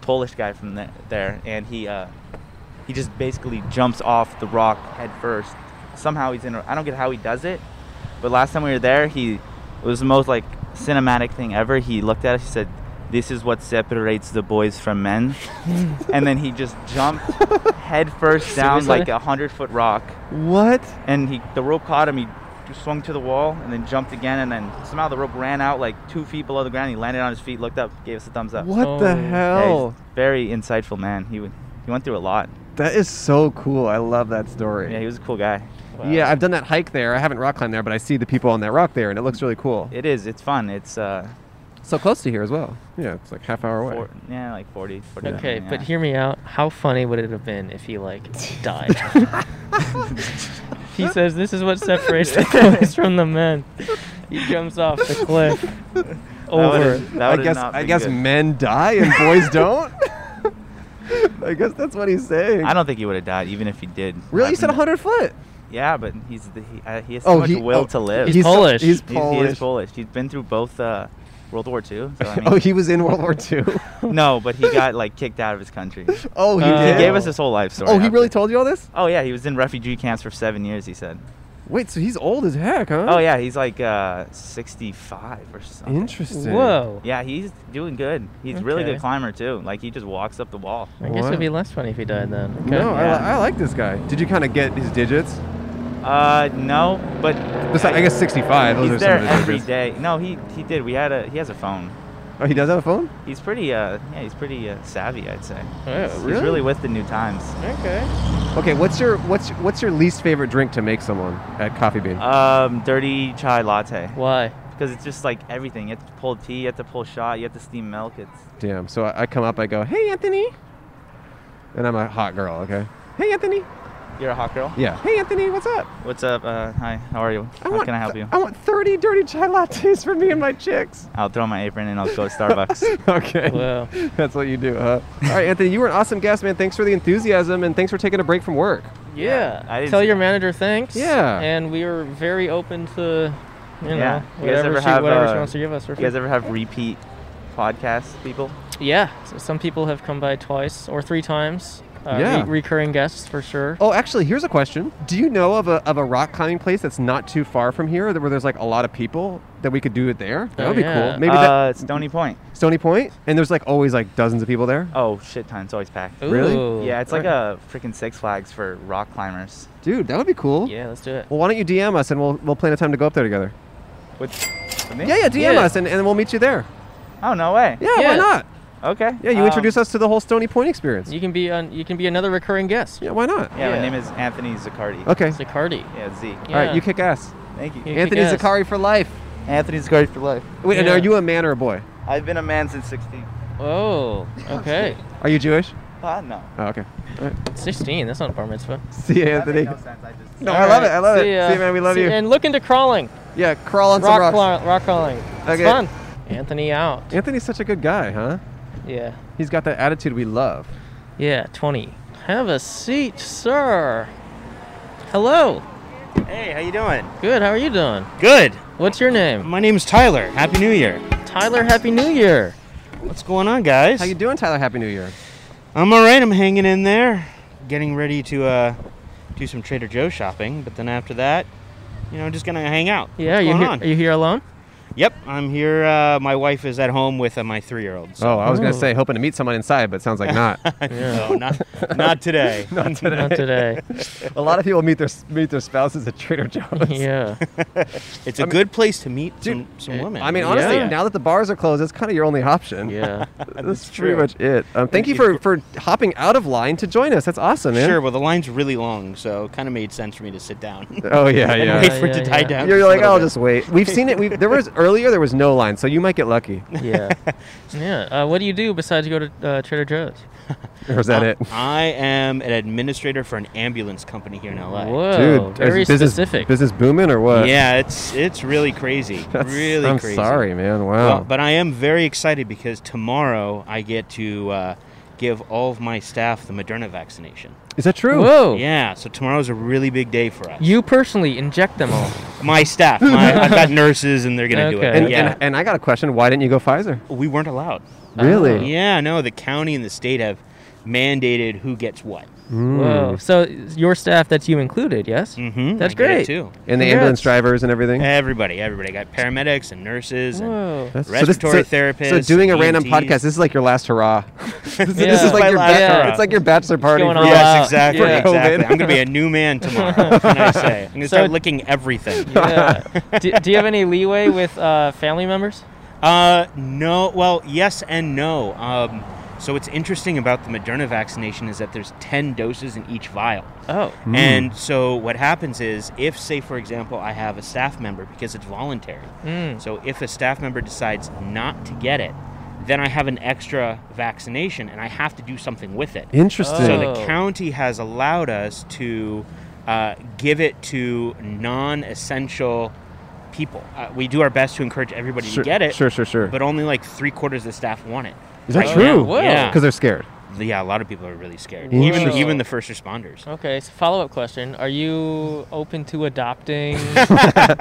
[SPEAKER 9] Polish guy from the, there, and he uh, he just basically jumps off the rock head first. Somehow he's in. A, I don't get how he does it, but last time we were there, he it was the most like cinematic thing ever. He looked at us. He said, "This is what separates the boys from men," and then he just jumped head first down
[SPEAKER 5] Seriously?
[SPEAKER 9] like a hundred foot rock
[SPEAKER 2] what?
[SPEAKER 9] and he the rope caught him. He swung to the wall and then jumped again, and then somehow the rope ran out like two feet below the ground. He landed on his feet, looked up, gave us a thumbs up.
[SPEAKER 2] What the
[SPEAKER 5] Oh.
[SPEAKER 9] Yeah, he's
[SPEAKER 2] hell?
[SPEAKER 9] very insightful man. He w- he went through a lot.
[SPEAKER 2] That is so cool. I love that story.
[SPEAKER 9] Yeah, he was a cool guy.
[SPEAKER 2] Yeah, I've done that hike there. I haven't rock climbed there, but I see the people on that rock there, and it looks really cool.
[SPEAKER 9] It is. It's fun. It's uh,
[SPEAKER 2] so close to here as well. Yeah, it's like half hour away.
[SPEAKER 9] four, yeah, like 40, 40
[SPEAKER 5] Okay,
[SPEAKER 9] yeah.
[SPEAKER 5] but hear me out. How funny would it have been if he like died? he says this is what separates the boys from the men. He jumps off the cliff. Over.
[SPEAKER 9] would've- that
[SPEAKER 2] I
[SPEAKER 9] would've
[SPEAKER 2] guess
[SPEAKER 9] not
[SPEAKER 2] I
[SPEAKER 9] been
[SPEAKER 2] guess
[SPEAKER 9] good.
[SPEAKER 2] men die and boys don't. I guess that's what he's saying.
[SPEAKER 9] I don't think he would have died even if he did.
[SPEAKER 2] really, you said 100
[SPEAKER 9] Happened
[SPEAKER 2] foot.
[SPEAKER 9] to- Yeah, but he's the, he, uh, he has so
[SPEAKER 2] Oh,
[SPEAKER 9] much
[SPEAKER 2] he-
[SPEAKER 9] will
[SPEAKER 2] oh,
[SPEAKER 9] to live.
[SPEAKER 5] He's Polish.
[SPEAKER 2] He's
[SPEAKER 9] He's-
[SPEAKER 2] Polish.
[SPEAKER 9] He is Polish. He's been through both uh, World War II. So, I mean,
[SPEAKER 2] oh, he was in World War II.
[SPEAKER 9] no, but he got like kicked out of his country.
[SPEAKER 2] oh, he
[SPEAKER 5] He
[SPEAKER 9] He
[SPEAKER 2] did.
[SPEAKER 9] gave us his whole life story.
[SPEAKER 2] oh, he
[SPEAKER 9] after.
[SPEAKER 2] really told you all this?
[SPEAKER 9] Oh yeah, he was in refugee camps for seven years. He said.
[SPEAKER 2] Wait, so he's old as heck, huh?
[SPEAKER 9] Oh yeah, he's like uh, 65 or something.
[SPEAKER 2] Interesting.
[SPEAKER 5] Whoa.
[SPEAKER 9] Yeah, he's doing good. He's really
[SPEAKER 5] Okay.
[SPEAKER 9] good climber too. Like he just walks up the wall.
[SPEAKER 5] I guess
[SPEAKER 2] Wow.
[SPEAKER 5] it'd be less funny if he died then. Okay.
[SPEAKER 2] No, I,
[SPEAKER 9] Yeah.
[SPEAKER 2] li- I like this guy. Did you kind of get his digits?
[SPEAKER 9] Uh, no, but
[SPEAKER 2] Besides, I guess 65. Those
[SPEAKER 9] he's
[SPEAKER 2] are
[SPEAKER 9] there
[SPEAKER 2] some of his
[SPEAKER 9] every
[SPEAKER 2] digits.
[SPEAKER 9] day. No, he he did. We had a he has a phone.
[SPEAKER 2] Oh, he does have a phone?
[SPEAKER 9] He's pretty uh yeah he's pretty uh, savvy I'd say.
[SPEAKER 5] Oh,
[SPEAKER 9] He's really with the new times.
[SPEAKER 5] Okay.
[SPEAKER 2] Okay, what's your what's what's your least favorite drink to make someone at Coffee Bean?
[SPEAKER 9] Um, dirty chai latte
[SPEAKER 5] Why?
[SPEAKER 9] because it's just like everything. You have to pull tea, you have to pull shot, you have to steam milk. It's
[SPEAKER 2] Damn. So I, I come up, I go, "Hey, Anthony," and I'm a hot girl. Okay. Hey, Anthony.
[SPEAKER 9] you're a hot girl.
[SPEAKER 2] Yeah. Hey, Anthony. What's up?
[SPEAKER 9] What's up? Uh, hi, how are you? how
[SPEAKER 2] want
[SPEAKER 9] can I help
[SPEAKER 2] th-
[SPEAKER 9] you?
[SPEAKER 2] I want 30 dirty chai lattes for me and my chicks.
[SPEAKER 9] I'll throw my apron and I'll go to Starbucks.
[SPEAKER 2] Okay.
[SPEAKER 5] Wow.
[SPEAKER 2] That's what you do, huh? All right, Anthony. You were an awesome guest, man. Thanks for the enthusiasm and thanks for taking a break from work.
[SPEAKER 5] Yeah.
[SPEAKER 9] I didn't
[SPEAKER 5] Tell
[SPEAKER 9] see
[SPEAKER 5] your
[SPEAKER 9] that.
[SPEAKER 5] manager thanks.
[SPEAKER 2] Yeah.
[SPEAKER 5] And we are very open to, you know,
[SPEAKER 9] Yeah. You guys
[SPEAKER 5] whatever,
[SPEAKER 9] ever
[SPEAKER 5] she,
[SPEAKER 9] have,
[SPEAKER 5] whatever
[SPEAKER 9] uh,
[SPEAKER 5] she wants to give us.
[SPEAKER 9] you guys ever have repeat podcasts, people?
[SPEAKER 5] Yeah, so some people have come by twice or three times. Uh,
[SPEAKER 2] Yeah.
[SPEAKER 5] re- recurring guests for sure.
[SPEAKER 2] Oh, actually, here's a question. Do you know of a, of a rock climbing place that's not too far from here that- where there's like a lot of people that we could do it there? That
[SPEAKER 5] Oh,
[SPEAKER 2] would be
[SPEAKER 5] yeah.
[SPEAKER 2] cool. Maybe
[SPEAKER 9] uh, Stony Point.
[SPEAKER 2] that Stony Point? And there's like always like dozens of people there.
[SPEAKER 9] Oh shit, time. It's always packed.
[SPEAKER 2] Oh, really?
[SPEAKER 5] Ooh.
[SPEAKER 9] Yeah, it's like a freaking Six Flags for rock climbers.
[SPEAKER 2] Dude, that would be cool.
[SPEAKER 5] Yeah, let's do it.
[SPEAKER 2] Well, why don't you DM us and we'll, we'll plan a time to go up there together?
[SPEAKER 9] With, with me?
[SPEAKER 2] Yeah, yeah, DM
[SPEAKER 5] Yeah.
[SPEAKER 2] us and, and we'll meet you there.
[SPEAKER 9] Oh no way.
[SPEAKER 2] Yeah,
[SPEAKER 5] Yeah.
[SPEAKER 2] why not?
[SPEAKER 9] Okay.
[SPEAKER 2] Yeah, you
[SPEAKER 9] Um,
[SPEAKER 2] introduce us to the whole Stony Point experience.
[SPEAKER 5] You can be on. You can be another recurring guest.
[SPEAKER 2] yeah, why not?
[SPEAKER 9] Yeah,
[SPEAKER 5] Yeah.
[SPEAKER 9] my name is Anthony Zaccardi.
[SPEAKER 2] Okay.
[SPEAKER 5] Zicardi.
[SPEAKER 9] Yeah, Z.
[SPEAKER 5] Yeah.
[SPEAKER 2] All right, you kick ass.
[SPEAKER 9] Thank you.
[SPEAKER 5] You
[SPEAKER 2] Anthony
[SPEAKER 5] kick ass.
[SPEAKER 2] Zakari for life.
[SPEAKER 9] Anthony Zaccardi for life.
[SPEAKER 2] Wait, and
[SPEAKER 5] Yeah.
[SPEAKER 2] are you a man or a boy?
[SPEAKER 9] I've been a man since 16.
[SPEAKER 5] Oh, okay.
[SPEAKER 2] Are you Jewish?
[SPEAKER 9] Ah, no.
[SPEAKER 2] Oh, okay.
[SPEAKER 5] 16. That's not a bar mitzvah.
[SPEAKER 2] See you,
[SPEAKER 9] That made
[SPEAKER 2] Anthony.
[SPEAKER 9] no sense. I just.
[SPEAKER 2] No, I love it. I love
[SPEAKER 5] See
[SPEAKER 2] it.
[SPEAKER 5] ya.
[SPEAKER 2] See you, man. We love
[SPEAKER 5] See-
[SPEAKER 2] you.
[SPEAKER 5] And look into crawling.
[SPEAKER 2] Yeah, crawl on
[SPEAKER 5] Rock,
[SPEAKER 2] some rocks.
[SPEAKER 5] cla- rock crawling. It's
[SPEAKER 2] Okay.
[SPEAKER 5] fun. Anthony out.
[SPEAKER 2] Anthony's such a good guy, huh?
[SPEAKER 5] Yeah.
[SPEAKER 2] He's got that attitude we love.
[SPEAKER 5] Yeah, 20. Have a seat, sir. Hello.
[SPEAKER 10] Hey, how you doing?
[SPEAKER 5] Good. How are you doing?
[SPEAKER 10] Good.
[SPEAKER 5] What's your name?
[SPEAKER 10] My name's Tyler. Happy New Year.
[SPEAKER 5] Tyler, Happy New Year.
[SPEAKER 10] What's going on, guys?
[SPEAKER 2] How you doing, Tyler? Happy New Year.
[SPEAKER 10] I'm all right. I'm hanging in there, getting ready to uh, do some Trader Joe shopping. But then after that, you know, just gonna hang out.
[SPEAKER 5] Yeah,
[SPEAKER 10] What's
[SPEAKER 5] you
[SPEAKER 10] going
[SPEAKER 5] here,
[SPEAKER 10] on?
[SPEAKER 5] are you here alone?
[SPEAKER 10] Yep, I'm here. Uh, my wife is at home with uh, my three-year-old. So
[SPEAKER 2] Oh, I was going
[SPEAKER 5] Oh.
[SPEAKER 2] to say hoping to meet someone inside, but it sounds like not.
[SPEAKER 10] no, not not today.
[SPEAKER 5] Not today.
[SPEAKER 2] a lot of people meet their meet their spouses at Trader Joe's.
[SPEAKER 5] yeah.
[SPEAKER 10] It's a good place to meet
[SPEAKER 2] Dude, eh,
[SPEAKER 10] some, some women.
[SPEAKER 2] I mean, honestly,
[SPEAKER 5] Yeah.
[SPEAKER 2] now that the bars are closed, that's kind of your only option.
[SPEAKER 5] Yeah.
[SPEAKER 2] That's pretty much it. Um, thank you for, for hopping out of line to join us. That's awesome, man.
[SPEAKER 10] sure. Well, the line's really long, so it kind of made sense for me to sit down.
[SPEAKER 2] Oh yeah,
[SPEAKER 10] and
[SPEAKER 2] yeah.
[SPEAKER 10] wait for it
[SPEAKER 5] Yeah,
[SPEAKER 10] to die
[SPEAKER 5] yeah.
[SPEAKER 10] down.
[SPEAKER 2] You're
[SPEAKER 10] just a
[SPEAKER 2] like, "Oh,
[SPEAKER 10] little
[SPEAKER 2] I'll
[SPEAKER 10] bit.
[SPEAKER 2] just wait. We've seen it. We've there was earlier there was no line, so you might get lucky.
[SPEAKER 5] Yeah. yeah. Uh, what do you do besides go to uh, Trader Joe's?
[SPEAKER 2] Or is that it?
[SPEAKER 10] I am an administrator for an ambulance company here in LA.
[SPEAKER 5] Whoa.
[SPEAKER 2] is
[SPEAKER 5] very
[SPEAKER 2] business,
[SPEAKER 5] specific.
[SPEAKER 2] Business booming or what?
[SPEAKER 10] Yeah, it's it's really crazy.
[SPEAKER 2] That's-
[SPEAKER 10] really
[SPEAKER 2] I'm
[SPEAKER 10] crazy.
[SPEAKER 2] sorry, Oh. man. Wow.
[SPEAKER 10] Well, but I am very excited because tomorrow I get to uh, give all of my staff the Moderna vaccination.
[SPEAKER 2] is that true?
[SPEAKER 5] Whoa.
[SPEAKER 10] Yeah, so tomorrow's a really big day for us.
[SPEAKER 5] Oh. You personally inject them all.
[SPEAKER 10] my staff, my, I've got nurses, and they're gonna do it.
[SPEAKER 5] Okay.
[SPEAKER 2] And,
[SPEAKER 10] yeah,
[SPEAKER 2] and, and I got a question. Why didn't you go Pfizer?
[SPEAKER 10] we weren't allowed.
[SPEAKER 2] Really?
[SPEAKER 10] Yeah, no, the county and the state have mandated who gets what.
[SPEAKER 2] Mm. Hmm.
[SPEAKER 5] Whoa. So your staff, that's you included, yes?
[SPEAKER 10] Mm-hmm.
[SPEAKER 5] That's
[SPEAKER 10] I get it
[SPEAKER 5] great.
[SPEAKER 10] too.
[SPEAKER 2] And the
[SPEAKER 5] Congrats.
[SPEAKER 2] ambulance drivers and everything.
[SPEAKER 10] Everybody, everybody got paramedics and nurses and
[SPEAKER 5] Whoa.
[SPEAKER 2] That's-
[SPEAKER 10] respiratory
[SPEAKER 2] so,
[SPEAKER 10] therapists.
[SPEAKER 2] so doing a random
[SPEAKER 10] EMTs.
[SPEAKER 2] podcast, this is like your last hurrah. this, is- this
[SPEAKER 5] Yeah.
[SPEAKER 2] is like
[SPEAKER 10] My
[SPEAKER 2] your
[SPEAKER 10] last
[SPEAKER 2] ba-
[SPEAKER 5] hurrah.
[SPEAKER 2] it's like your bachelor party.
[SPEAKER 5] going
[SPEAKER 2] for-
[SPEAKER 5] on?
[SPEAKER 10] Yes,
[SPEAKER 5] Wow.
[SPEAKER 10] exactly.
[SPEAKER 5] Yeah.
[SPEAKER 10] exactly.
[SPEAKER 2] COVID.
[SPEAKER 10] I'm gonna be a new man tomorrow. what can I say? I'm gonna
[SPEAKER 5] So-
[SPEAKER 10] start licking everything.
[SPEAKER 5] Yeah. do, do you have any leeway with uh, family members?
[SPEAKER 10] Uh, no. Well, yes and no. Um, so what's interesting about the Moderna vaccination is that there's 10 doses in each vial.
[SPEAKER 5] Oh.
[SPEAKER 10] And so what happens is, if say for example I have a staff member because it's voluntary.
[SPEAKER 5] Mm.
[SPEAKER 10] So if a staff member decides not to get it, then I have an extra vaccination and I have to do something with it.
[SPEAKER 2] Interesting.
[SPEAKER 10] So
[SPEAKER 5] Oh.
[SPEAKER 10] the county has allowed us to uh, give it to non-essential people. Uh, we do our best to encourage everybody
[SPEAKER 2] Sure,
[SPEAKER 10] to get it,
[SPEAKER 2] Sure, sure, sure.
[SPEAKER 10] but only like three quarters of the staff want it.
[SPEAKER 2] is that
[SPEAKER 5] Oh, yeah.
[SPEAKER 2] true?
[SPEAKER 5] Whoa.
[SPEAKER 10] Yeah.
[SPEAKER 2] Because they're scared.
[SPEAKER 10] Yeah, a lot of people are really scared. Even
[SPEAKER 5] Interesting.
[SPEAKER 10] even the first responders.
[SPEAKER 5] Okay, so follow up question. Are you open to adopting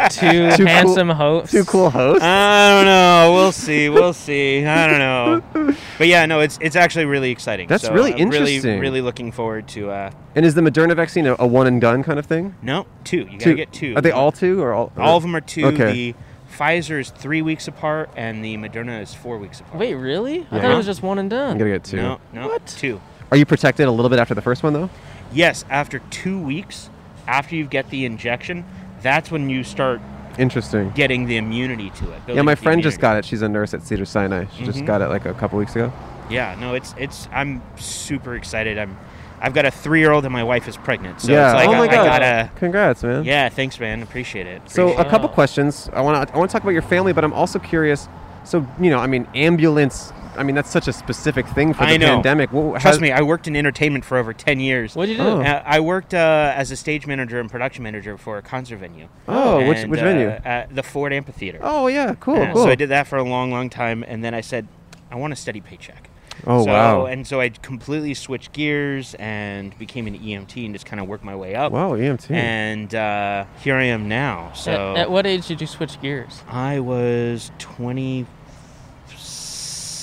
[SPEAKER 5] two
[SPEAKER 2] cool-
[SPEAKER 5] handsome hosts?
[SPEAKER 2] Two cool hosts.
[SPEAKER 10] I don't know. We'll see. We'll see. I don't know. But yeah, no, it's it's actually really exciting.
[SPEAKER 2] That's
[SPEAKER 10] So
[SPEAKER 2] really
[SPEAKER 10] I'm Really,
[SPEAKER 2] interesting.
[SPEAKER 10] really looking forward to. Uh,
[SPEAKER 2] and is the Moderna vaccine a, a one and done kind of thing?
[SPEAKER 10] no, two. You gotta
[SPEAKER 2] Two.
[SPEAKER 10] get two.
[SPEAKER 2] Are they all two or all?
[SPEAKER 10] All of them are two.
[SPEAKER 2] Okay.
[SPEAKER 10] The Pfizer is three weeks apart, and the Moderna is four weeks apart.
[SPEAKER 5] Wait, really? I thought
[SPEAKER 2] Yeah.
[SPEAKER 5] it was just one and
[SPEAKER 2] I'm
[SPEAKER 5] done.
[SPEAKER 2] gonna get two.
[SPEAKER 10] No, no,
[SPEAKER 5] What?
[SPEAKER 10] Two.
[SPEAKER 2] Are you protected a little bit after the first one though?
[SPEAKER 10] Yes, after two weeks, after you get the injection, that's when you start
[SPEAKER 2] Interesting.
[SPEAKER 10] getting the immunity to it.
[SPEAKER 2] Yeah, my friend just got it. She's a nurse at Cedar Sinai. She just
[SPEAKER 10] Mhm.
[SPEAKER 2] got it like a couple weeks ago.
[SPEAKER 10] Yeah, no, it's it's. I'm super excited. I'm. I've got a three-year-old and my wife is pregnant, so
[SPEAKER 2] yeah.
[SPEAKER 10] it's like
[SPEAKER 2] oh
[SPEAKER 10] I,
[SPEAKER 2] my
[SPEAKER 10] I
[SPEAKER 2] god.
[SPEAKER 10] gotta.
[SPEAKER 2] Congrats, man.
[SPEAKER 10] Yeah, thanks, man. Appreciate it.
[SPEAKER 2] So a
[SPEAKER 5] Appreciate it.
[SPEAKER 2] couple
[SPEAKER 5] Wow.
[SPEAKER 2] questions. I want to I want to talk about your family, but I'm also curious. So you know, I mean, ambulance. I mean, that's such a specific thing for the
[SPEAKER 10] I know.
[SPEAKER 2] pandemic. Wha-
[SPEAKER 10] Trust
[SPEAKER 2] how-
[SPEAKER 10] me, I worked in entertainment for over 10 years.
[SPEAKER 5] What'd you do?
[SPEAKER 2] Oh.
[SPEAKER 10] Uh, I worked uh, as a stage manager and production manager for a concert venue.
[SPEAKER 2] Oh, which
[SPEAKER 10] And,
[SPEAKER 2] which
[SPEAKER 10] uh,
[SPEAKER 2] venue?
[SPEAKER 10] At the Ford Amphitheater.
[SPEAKER 2] oh yeah, cool,
[SPEAKER 10] Yeah,
[SPEAKER 2] cool.
[SPEAKER 10] So I did that for a long, long time, and then I said, I want a steady paycheck.
[SPEAKER 2] oh
[SPEAKER 10] so,
[SPEAKER 2] wow.
[SPEAKER 10] And so I completely switched gears and became an EMT and just kind of worked my way up.
[SPEAKER 2] Wow, E EMT.
[SPEAKER 10] And uh, here I am now. So
[SPEAKER 5] At, at what age did you switch gears?
[SPEAKER 10] I was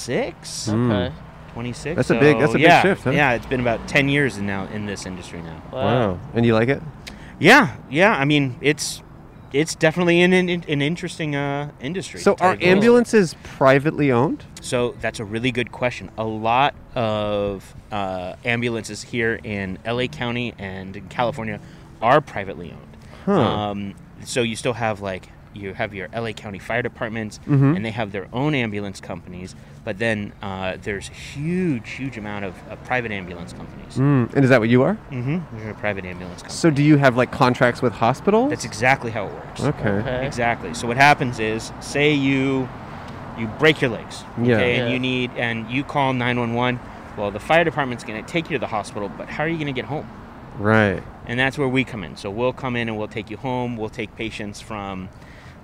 [SPEAKER 10] 26.
[SPEAKER 2] Hmm.
[SPEAKER 5] Okay.
[SPEAKER 10] 26.
[SPEAKER 2] That's a big- that's
[SPEAKER 10] so
[SPEAKER 2] a big
[SPEAKER 10] yeah,
[SPEAKER 2] shift, huh?
[SPEAKER 10] Yeah, it's been about 10 years now in this industry now.
[SPEAKER 5] Wow.
[SPEAKER 2] wow. And you like it?
[SPEAKER 10] Yeah, yeah. I mean, it's it's definitely an an, an interesting uh, industry.
[SPEAKER 2] So
[SPEAKER 10] to
[SPEAKER 2] are
[SPEAKER 10] tell you the least.
[SPEAKER 2] ambulances privately owned?
[SPEAKER 10] So that's a really good question. A lot of uh, ambulances here in LA County and in California are privately owned.
[SPEAKER 2] Huh.
[SPEAKER 10] Um, so you still have like you have your LA County fire departments,
[SPEAKER 2] Mhm.
[SPEAKER 10] and they have their own ambulance companies. But then uh, there's huge, huge amount of, of private ambulance companies.
[SPEAKER 2] Mm. And is that what you are?
[SPEAKER 10] Mm-hmm. You're a private ambulance company.
[SPEAKER 2] So do you have like contracts with hospitals?
[SPEAKER 10] That's exactly how it works.
[SPEAKER 2] okay.
[SPEAKER 5] Okay.
[SPEAKER 10] Exactly. So what happens is, say you you break your legs,
[SPEAKER 2] Yeah.
[SPEAKER 10] okay, and
[SPEAKER 5] Yeah.
[SPEAKER 10] you need and you call 911. Well, the fire department's going to take you to the hospital, but how are you going to get home?
[SPEAKER 2] Right.
[SPEAKER 10] And that's where we come in. So we'll come in and we'll take you home. We'll take patients from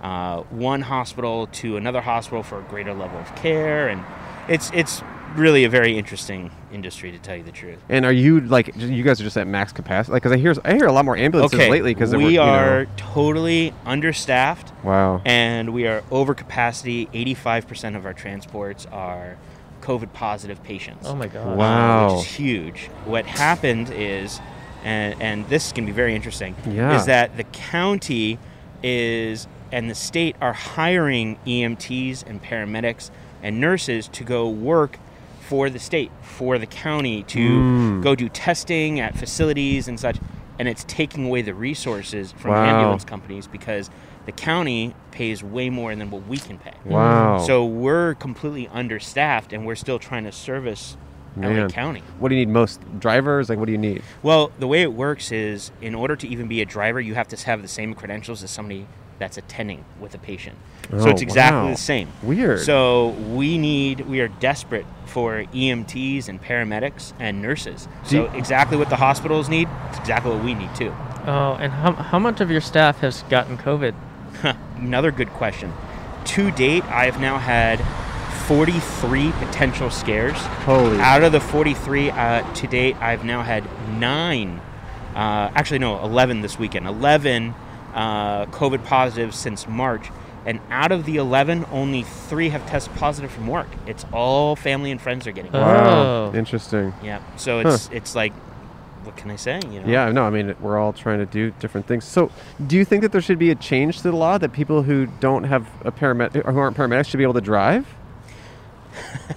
[SPEAKER 10] uh, one hospital to another hospital for a greater level of care, and it's it's really a very interesting industry to tell you the truth.
[SPEAKER 2] And are you like j- you guys are just at max capacity? Like, cause I hear I hear a lot more ambulances
[SPEAKER 10] okay,
[SPEAKER 2] lately because
[SPEAKER 10] we are totally understaffed.
[SPEAKER 2] wow.
[SPEAKER 10] and we are over capacity. 85% of our transports are COVID positive patients.
[SPEAKER 5] Oh my god.
[SPEAKER 2] Wow.
[SPEAKER 10] uh, Which is huge. What happened is, and, and this can be very interesting,
[SPEAKER 2] Yeah.
[SPEAKER 10] is that the county is and the state are hiring EMTs and paramedics and nurses to go work for the state, for the county to
[SPEAKER 2] Mm.
[SPEAKER 10] go do testing at facilities and such. And it's taking away the resources from
[SPEAKER 2] Wow.
[SPEAKER 10] ambulance companies because the county pays way more than what we can pay.
[SPEAKER 2] Wow.
[SPEAKER 10] So we're completely understaffed and we're still trying to service LA
[SPEAKER 2] Man.
[SPEAKER 10] County.
[SPEAKER 2] what do you need most? Drivers? Like, what do you need?
[SPEAKER 10] Well, the way it works is in order to even be a driver, you have to have the same credentials as somebody that's attending with a patient.
[SPEAKER 2] Oh,
[SPEAKER 10] so it's exactly
[SPEAKER 2] wow.
[SPEAKER 10] the same.
[SPEAKER 2] Weird.
[SPEAKER 10] So we need, we are desperate for EMTs and paramedics and nurses.
[SPEAKER 2] Do you-
[SPEAKER 10] so exactly what the hospitals need, it's exactly what we need too.
[SPEAKER 5] Oh, and how, how much of your staff has gotten COVID?
[SPEAKER 10] Another good question. To date, I have now had 43 potential scares.
[SPEAKER 2] Holy.
[SPEAKER 10] Out of the 43 uh, to date, I've now had nine, uh, actually, no, 11 this weekend, 11 uh, COVID positives since March. And out of the 11, only three have tested positive from work. It's all family and friends are getting it.
[SPEAKER 2] Wow.
[SPEAKER 5] Oh.
[SPEAKER 2] Um, Interesting.
[SPEAKER 10] Yeah. So it's it's like, what can I say? You know?
[SPEAKER 2] Yeah, no, I mean, we're all trying to do different things. So, do you think that there should be a change to the law that people who don't have a paramedic or who aren't paramedics should be able to drive?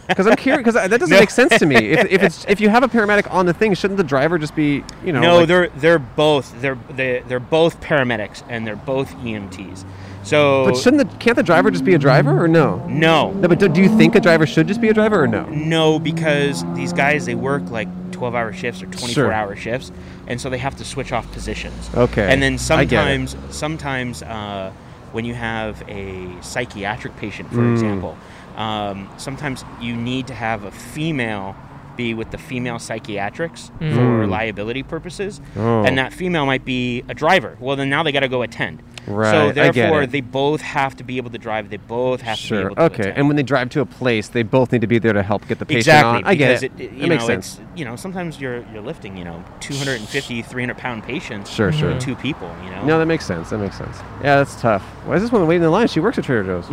[SPEAKER 2] Because I'm curious, because that doesn't make sense to me. If, if it's if you have a paramedic on the thing, shouldn't the driver just be you know?
[SPEAKER 10] No,
[SPEAKER 2] like-
[SPEAKER 10] they're they're both they're they, they're both paramedics and they're both EMTs. So
[SPEAKER 2] But shouldn't the can't the driver just be a driver or no?
[SPEAKER 10] no,
[SPEAKER 2] No, but do, do you think a driver should just be a driver or no?
[SPEAKER 10] No, because these guys they work like twelve hour shifts or twenty four
[SPEAKER 2] Sure.
[SPEAKER 10] hour shifts, and so they have to switch off positions.
[SPEAKER 2] Okay,
[SPEAKER 10] And then
[SPEAKER 2] I get it.
[SPEAKER 10] sometimes, sometimes uh, when you have a psychiatric patient, for
[SPEAKER 2] Mm.
[SPEAKER 10] example, um, sometimes you need to have a female be with the female psychiatrics for liability purposes,
[SPEAKER 2] Mm. Oh.
[SPEAKER 10] and that female might be a driver. Well, then now they got to go attend.
[SPEAKER 2] Right, I
[SPEAKER 10] So
[SPEAKER 2] get
[SPEAKER 10] therefore,
[SPEAKER 2] it.
[SPEAKER 10] they both have to be able to drive. They both have to be
[SPEAKER 2] Sure.
[SPEAKER 10] able to
[SPEAKER 2] Okay.
[SPEAKER 10] attend
[SPEAKER 2] And when they drive to a place, they both need to be there to help get the patient
[SPEAKER 10] exactly
[SPEAKER 2] on. I get
[SPEAKER 10] because
[SPEAKER 2] it.
[SPEAKER 10] you
[SPEAKER 2] That makes
[SPEAKER 10] know,
[SPEAKER 2] sense.
[SPEAKER 10] It's, you know, sometimes you're you're lifting, you know, 250, 300 pound patients.
[SPEAKER 2] Sure, sure.
[SPEAKER 10] With two people, you know.
[SPEAKER 2] No, that makes sense. That makes sense. Yeah, that's tough. Why is this woman waiting in line? She works at Trader Joe's.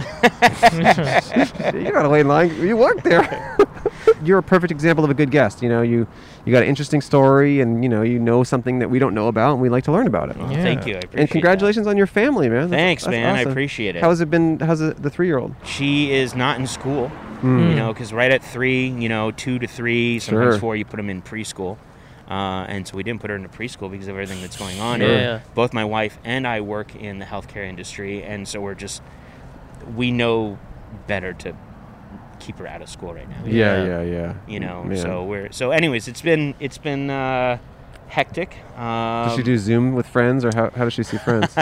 [SPEAKER 2] you gotta wait in line. You work there. You're a perfect example of a good guest. You know, you you got an interesting story, and you know, you know something that we don't know about, and we like to learn about it.
[SPEAKER 10] Well, Thank you. I Uh-huh. appreciate
[SPEAKER 2] And congratulations on your family, man. That's-
[SPEAKER 10] Thanks,
[SPEAKER 2] that's
[SPEAKER 10] man. I
[SPEAKER 2] awesome.
[SPEAKER 10] appreciate it.
[SPEAKER 2] How's it been? How's the, the three-year-old?
[SPEAKER 10] that. She is not in school, you know, because right at three, you know, two to three, sometimes
[SPEAKER 2] Hmm. Sure.
[SPEAKER 10] four, you put them in preschool. Uh, and so we didn't put her into preschool because of everything that's going on.
[SPEAKER 5] Sure.
[SPEAKER 10] And
[SPEAKER 5] Yeah.
[SPEAKER 10] Both my wife and I work in the healthcare industry, and so we're just we know better to keep her out of school right now.
[SPEAKER 2] yeah, yeah.
[SPEAKER 10] you know
[SPEAKER 2] Man.
[SPEAKER 10] so we're so anyways it's been it's been uh hectic um,
[SPEAKER 2] Does she do Zoom with friends, or how, how does she see friends?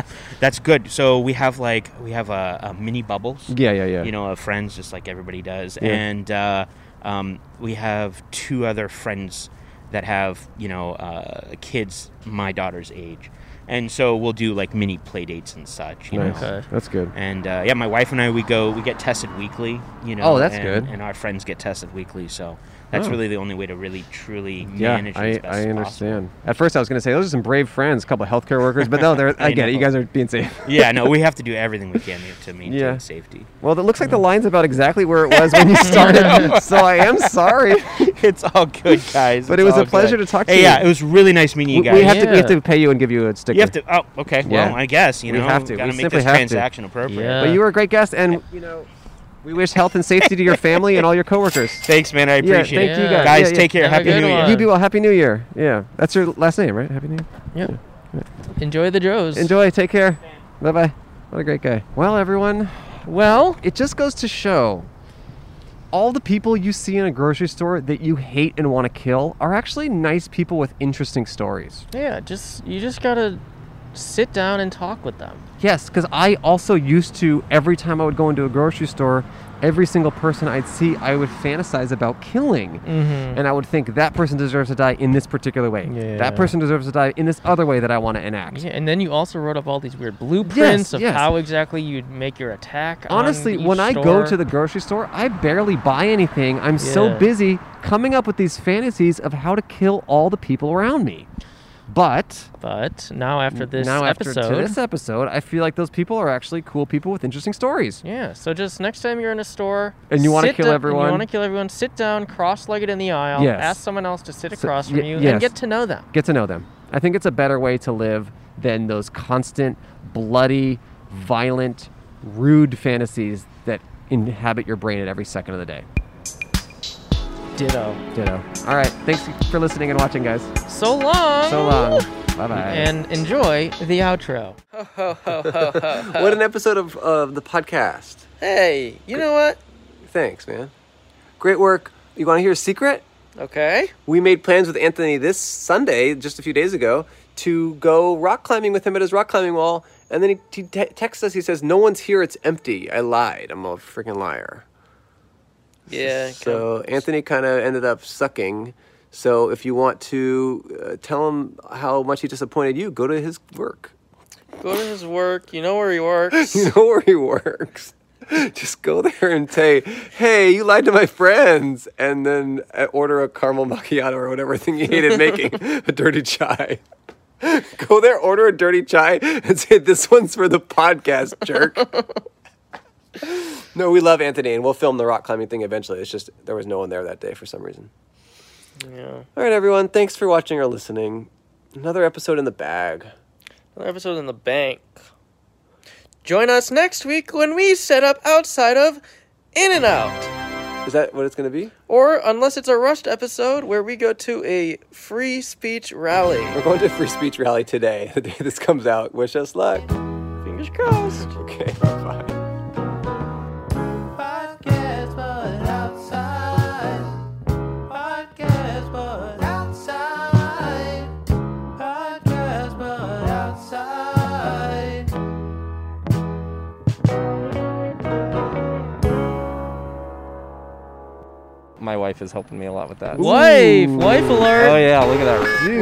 [SPEAKER 10] that's good so we have like we have a, a mini bubbles
[SPEAKER 2] yeah, yeah, yeah.
[SPEAKER 10] you know of friends just like everybody does
[SPEAKER 2] Yeah.
[SPEAKER 10] and uh, um, we have two other friends that have you know uh, kids my daughter's age and so we'll do like mini play dates and such you
[SPEAKER 2] nice.
[SPEAKER 10] know
[SPEAKER 5] Okay.
[SPEAKER 2] That's good.
[SPEAKER 10] and uh, yeah, my wife and I we go we get tested weekly. You know.
[SPEAKER 2] Oh, that's
[SPEAKER 10] and,
[SPEAKER 2] good.
[SPEAKER 10] And our friends get tested weekly, so that's
[SPEAKER 2] Oh.
[SPEAKER 10] really the only way to really truly
[SPEAKER 2] Yeah,
[SPEAKER 10] manage.
[SPEAKER 2] I,
[SPEAKER 10] as best
[SPEAKER 2] I
[SPEAKER 10] as
[SPEAKER 2] understand. At first, I was going to say those are some brave friends, a couple of healthcare workers, but no, they're, I,
[SPEAKER 10] I
[SPEAKER 2] get it. You
[SPEAKER 10] know.
[SPEAKER 2] guys are being safe.
[SPEAKER 10] possible. yeah, no, we have to do everything we can to maintain
[SPEAKER 2] Yeah.
[SPEAKER 10] safety.
[SPEAKER 2] Well, it looks like the line's about exactly where it was when you started. so I am sorry.
[SPEAKER 10] It's all good, guys.
[SPEAKER 2] But
[SPEAKER 10] It's
[SPEAKER 2] it was a
[SPEAKER 10] all
[SPEAKER 2] pleasure
[SPEAKER 10] good.
[SPEAKER 2] to talk to
[SPEAKER 10] Hey, Yeah,
[SPEAKER 2] you.
[SPEAKER 10] it was really nice meeting
[SPEAKER 2] We,
[SPEAKER 10] you
[SPEAKER 2] we
[SPEAKER 10] guys.
[SPEAKER 2] have to, we have
[SPEAKER 5] Yeah.
[SPEAKER 2] to pay you and give you a sticker.
[SPEAKER 10] You have to. Oh, okay. Well,
[SPEAKER 2] Yeah.
[SPEAKER 10] I guess you
[SPEAKER 2] We
[SPEAKER 10] know.
[SPEAKER 2] have to.
[SPEAKER 10] Gotta
[SPEAKER 2] We
[SPEAKER 10] make
[SPEAKER 2] simply
[SPEAKER 10] this
[SPEAKER 2] have to.
[SPEAKER 10] transaction appropriate.
[SPEAKER 5] Yeah.
[SPEAKER 2] But you were a great guest, and you know, we wish health and safety to your family and all your coworkers.
[SPEAKER 10] Thanks, man. I
[SPEAKER 2] Yeah,
[SPEAKER 10] appreciate
[SPEAKER 2] thank
[SPEAKER 10] it.
[SPEAKER 2] you guys.
[SPEAKER 10] Guys,
[SPEAKER 2] Yeah, yeah.
[SPEAKER 10] take care.
[SPEAKER 5] Have a
[SPEAKER 10] Happy
[SPEAKER 5] good
[SPEAKER 10] New Year.
[SPEAKER 5] one.
[SPEAKER 2] You be well. Happy New Year. Yeah, that's your last name, right? Happy New Year.
[SPEAKER 5] Yep. Enjoy the Joes.
[SPEAKER 2] Enjoy. Take care. Bye bye. What a great guy. Well, everyone, well, it just goes to show all the people you see in a grocery store that you hate and want to kill are actually nice people with interesting stories.
[SPEAKER 5] Yeah, just you just gotta sit down and talk with them.
[SPEAKER 2] Yes, because I also used to, every time I would go into a grocery store, every single person I'd see, I would fantasize about killing.
[SPEAKER 5] Mm-hmm.
[SPEAKER 2] And I would think that person deserves to die in this particular way.
[SPEAKER 5] Yeah.
[SPEAKER 2] That person deserves to die in this other way that I want to enact.
[SPEAKER 5] Yeah, and then you also wrote up all these weird blueprints of
[SPEAKER 2] yes.
[SPEAKER 5] how exactly you'd make your attack. on
[SPEAKER 2] honestly,
[SPEAKER 5] each
[SPEAKER 2] when I go to
[SPEAKER 5] store.
[SPEAKER 2] the grocery store, I barely buy anything. I'm so
[SPEAKER 5] Yeah.
[SPEAKER 2] busy coming up with these fantasies of how to kill all the people around me. But
[SPEAKER 5] but now after this
[SPEAKER 2] now after
[SPEAKER 5] episode,
[SPEAKER 2] to this episode, I feel like those people are actually cool people with interesting stories.
[SPEAKER 5] yeah. So just next time you're in a store
[SPEAKER 2] e- And you wanna
[SPEAKER 5] sit
[SPEAKER 2] kill
[SPEAKER 5] do- and
[SPEAKER 2] everyone.
[SPEAKER 5] you want to kill everyone. Sit down, cross-legged in the aisle.
[SPEAKER 2] Yes.
[SPEAKER 5] Ask someone else to sit
[SPEAKER 2] So-
[SPEAKER 5] across
[SPEAKER 2] y-
[SPEAKER 5] from you
[SPEAKER 2] yes.
[SPEAKER 5] and get to know them.
[SPEAKER 2] Get to know them. I think it's a better way to live than those constant bloody
[SPEAKER 11] violent, rude fantasies that inhabit your brain at every second of the day.
[SPEAKER 1] Ditto.
[SPEAKER 11] Ditto. All right. Thanks for listening and watching, guys.
[SPEAKER 1] So long.
[SPEAKER 11] So long. Bye bye.
[SPEAKER 1] And enjoy the outro.
[SPEAKER 2] What an episode of, of the podcast.
[SPEAKER 1] Hey, you know what?
[SPEAKER 2] Thanks, man. Great work. You want to hear a secret?
[SPEAKER 1] Okay.
[SPEAKER 2] We made plans with Anthony this Sunday, just a few days ago, to go rock climbing with him at his rock climbing wall. And then he, he te- texts us. He says, "No one's here. It's empty." I lied. I'm a freaking liar.
[SPEAKER 1] Yeah.
[SPEAKER 2] So Anthony kind of ended up sucking. So if you want to uh, tell him how much he disappointed you, go to his work.
[SPEAKER 1] Go to his work. You know where he works.
[SPEAKER 2] You know where he works. Just go there and say, "Hey, you lied to my friends," and then uh, order a caramel macchiato or whatever thing you hated making, a dirty chai. Go there, order a dirty chai, and say, "This one's for the podcast, jerk." no, we love Anthony, and we'll film the rock climbing thing eventually. It's just there was no one there that day for some reason.
[SPEAKER 1] yeah.
[SPEAKER 2] All right, everyone, thanks for watching or listening. Another episode in the bag.
[SPEAKER 1] Another episode in the bank. Join us next week when we set up outside of In and Out.
[SPEAKER 2] Is that what it's going to be?
[SPEAKER 1] Or unless it's a rushed episode where we go to a free speech rally.
[SPEAKER 2] We're going to a free speech rally today, the day this comes out. Wish us luck.
[SPEAKER 1] Fingers crossed.
[SPEAKER 2] Okay, bye.
[SPEAKER 3] Podcast, but outside. Podcast, but outside. Podcast, but outside.
[SPEAKER 5] My wife is helping me a lot with that.
[SPEAKER 1] Wife, wife alert.
[SPEAKER 5] Oh yeah, look at that.